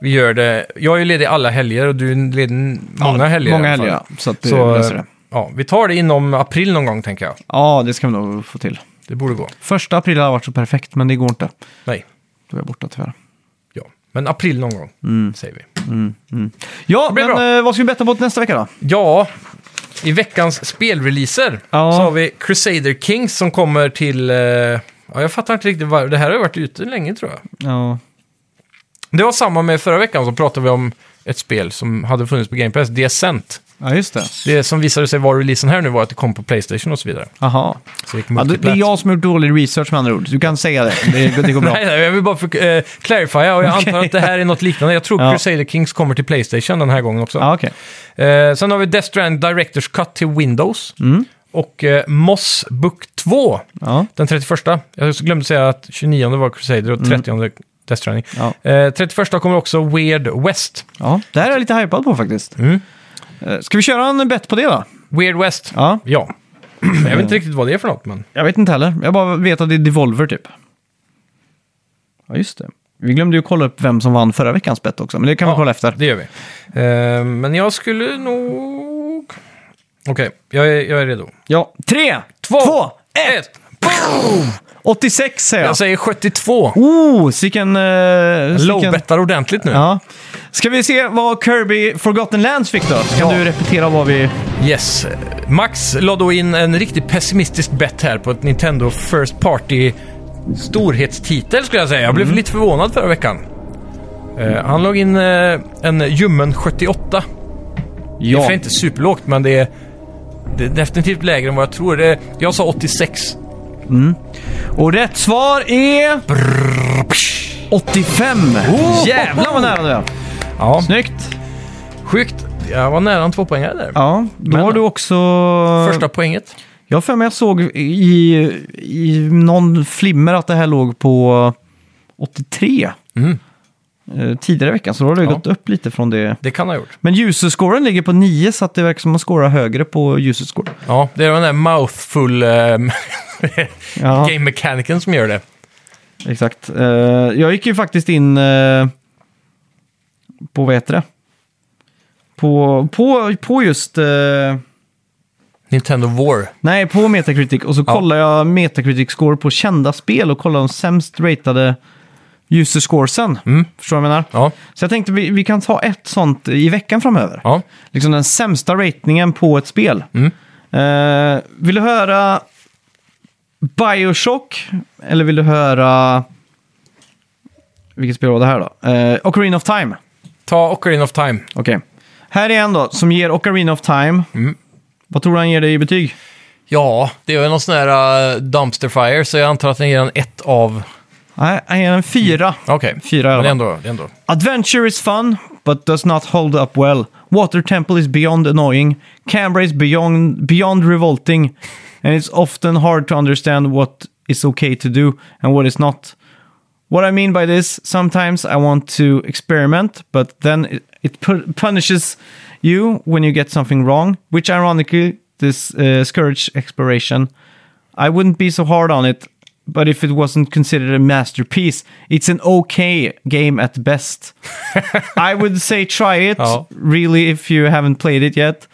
S2: vi gör det... Jag är ju ledig alla helger och du är ledig många helger.
S1: Många
S2: i alla fall.
S1: helger, ja. Så att det
S2: Så, eh,
S1: löser det.
S2: ja, vi tar det inom april någon gång, tänker jag.
S1: Ja, det ska vi nog få till.
S2: Det borde gå.
S1: Första april har varit så perfekt, men det går inte.
S2: Nej,
S1: Då är jag borta tyvärr.
S2: ja. Men april någon gång,
S1: Mm.
S2: säger vi.
S1: Ja,
S2: Det blir
S1: men
S2: bra.
S1: eh, vad ska vi betta på till nästa vecka då?
S2: Ja, i veckans spelreleaser
S1: Ja.
S2: så har vi Crusader Kings som kommer till... Eh, ja, jag fattar inte riktigt varför. Det här har ju varit ute länge tror jag.
S1: Ja,
S2: Det var samma med förra veckan så pratade vi om ett spel som hade funnits på Game Pass, Descent.
S1: ja just det.
S2: Det som visade sig vara releasen här nu var att det kom på Playstation och så vidare.
S1: Aha.
S2: Så det gick
S1: Ja, det, det är
S2: multiplat.
S1: jag som har gjort dålig research med andra ord. Du kan säga det. Det, det går bra.
S2: Nej, nej, jag vill bara för, eh, clarifiera och jag
S1: Okej.
S2: antar att det här är något liknande. Jag tror
S1: Ja.
S2: Crusader Kings kommer till Playstation den här gången också.
S1: Ja, okej.
S2: Eh, sen har vi Death Strand Directors Cut till Windows.
S1: Mm.
S2: Och eh, Moss Book 2
S1: Ja.
S2: Den 31. Jag glömde säga att 29 var Crusader och 30 Death Stranding.
S1: Mm. Ja.
S2: Eh, 31 kommer också Weird West.
S1: ja, det här är jag lite hypad på faktiskt.
S2: Mm.
S1: Eh, Ska vi köra en bett på det då?
S2: Weird West.
S1: Ja.
S2: Ja. Jag vet inte riktigt vad det är för något, men
S1: Jag vet inte heller. Jag bara vet att det är Devolver typ. Ja, just det. Vi glömde ju kolla upp vem som vann förra veckans bett också, men det kan vi
S2: Ja.
S1: kolla efter.
S2: Det gör vi. Eh, men jag skulle nog... Okej, jag, är- jag är redo.
S1: Ja, tre, två,
S2: Två,
S1: ett! Boom! 86 säger jag.
S2: Jag säger 72.
S1: Oh, sicken... Uh,
S2: Lowbettar ordentligt nu.
S1: Ja. Ska vi se vad Kirby Forgotten Lands fick då? Så kan
S2: Ja.
S1: du repetera vad vi...
S2: Yes. Max la då in en riktigt pessimistisk bet här på ett Nintendo First Party storhetstitel skulle jag säga. Jag blev
S1: Mm.
S2: lite förvånad förra veckan. Eh, han la in eh, en ljummen 78. Det är inte superlågt, men det är, det är definitivt lägre än vad jag tror. Det, jag sa 86.
S1: Och rätt svar är... 85!
S2: Oh!
S1: Jävlar vad nära du är.
S2: Ja,
S1: Snyggt!
S2: sjukt. Jag var nära en tvåpoängare där.
S1: Ja, då
S2: Men-
S1: har du också...
S2: Första poänget.
S1: Jag har för mig jag såg i, i någon flimmer att det här låg på 83.
S2: Mm.
S1: eh, Tidigare i veckan, så då har det
S2: Ja.
S1: gått upp lite från det.
S2: Det kan ha gjort.
S1: Men user-scoren ligger på 9, så att det verkar som att man scorar högre på user-score.
S2: Ja, det är den där mouthful ehm,
S1: Ja.
S2: game mechanicen som gör det.
S1: Exakt. Eh, jag gick ju faktiskt in eh, på, vad heter det? På, på, på just, eh,
S2: Nintendo War.
S1: nej på Metacritic och så
S2: Ja.
S1: kollade jag Metacritic score på kända spel och kollade de sämst ratade user scoresen.
S2: Mm.
S1: Förstår du vad jag menar?
S2: Ja,
S1: Så jag tänkte vi, vi kan ta ett sånt i veckan framöver.
S2: ja.
S1: Liksom den sämsta ratingen på ett spel.
S2: Mm.
S1: Eh, vill du höra Bioshock? Eller vill du höra... Vilket spel var det här då? Eh, Ocarina of Time.
S2: Ta Ocarina of Time.
S1: Okej. Här är en då, som ger Ocarina of Time.
S2: Mm.
S1: Vad tror du han ger dig i betyg?
S2: Ja, det är ju någon sån här eh, dumpster fire, så jag antar att den ger en ett av...
S1: Nej, han ger en fyra.
S2: Okej,
S1: Fyra i
S2: men
S1: alla
S2: det
S1: fall.
S2: är ändå... Det är ändå.
S1: Adventure is fun, but does not hold up well. Water Temple is beyond annoying. Canberra is beyond, beyond revolting. And it's often hard to understand what is okay to do and what is not. What I mean by this, sometimes I want to experiment, but then it, it pu- punishes you when you get something wrong, which ironically this uh, scourge exploration. I wouldn't be so hard on it, but if it wasn't considered a masterpiece, it's an okay game at best. I would say try it,
S2: Ja.
S1: really, if you haven't played it yet.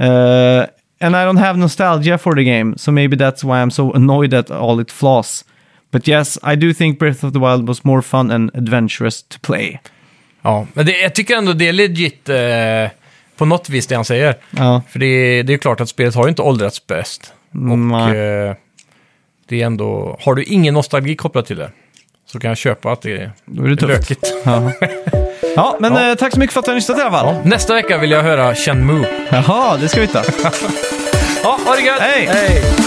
S1: Uh, and I don't have nostalgia for the game, so maybe that's why I'm so annoyed at all its flaws. But yes, I do think Breath of the Wild was more fun and adventurous to play.
S2: Ja, men det, jag tycker ändå det är legit eh, på något vis det han säger.
S1: Ja,
S2: För det, det är ju klart att spelet har ju inte åldrats bäst. Och
S1: Nej.
S2: eh, det är ändå... Har du ingen nostalgi kopplat till det så kan jag köpa att det är
S1: då är det tufft.
S2: lökigt.
S1: Ja. ja, men
S2: Ja.
S1: eh, tack så mycket för att du har lyssnat i alla fall.
S2: Nästa vecka vill jag höra Chen Mu.
S1: Jaha, det ska vi ta.
S2: Ja, ha det gött!
S1: Hej!
S2: Hej.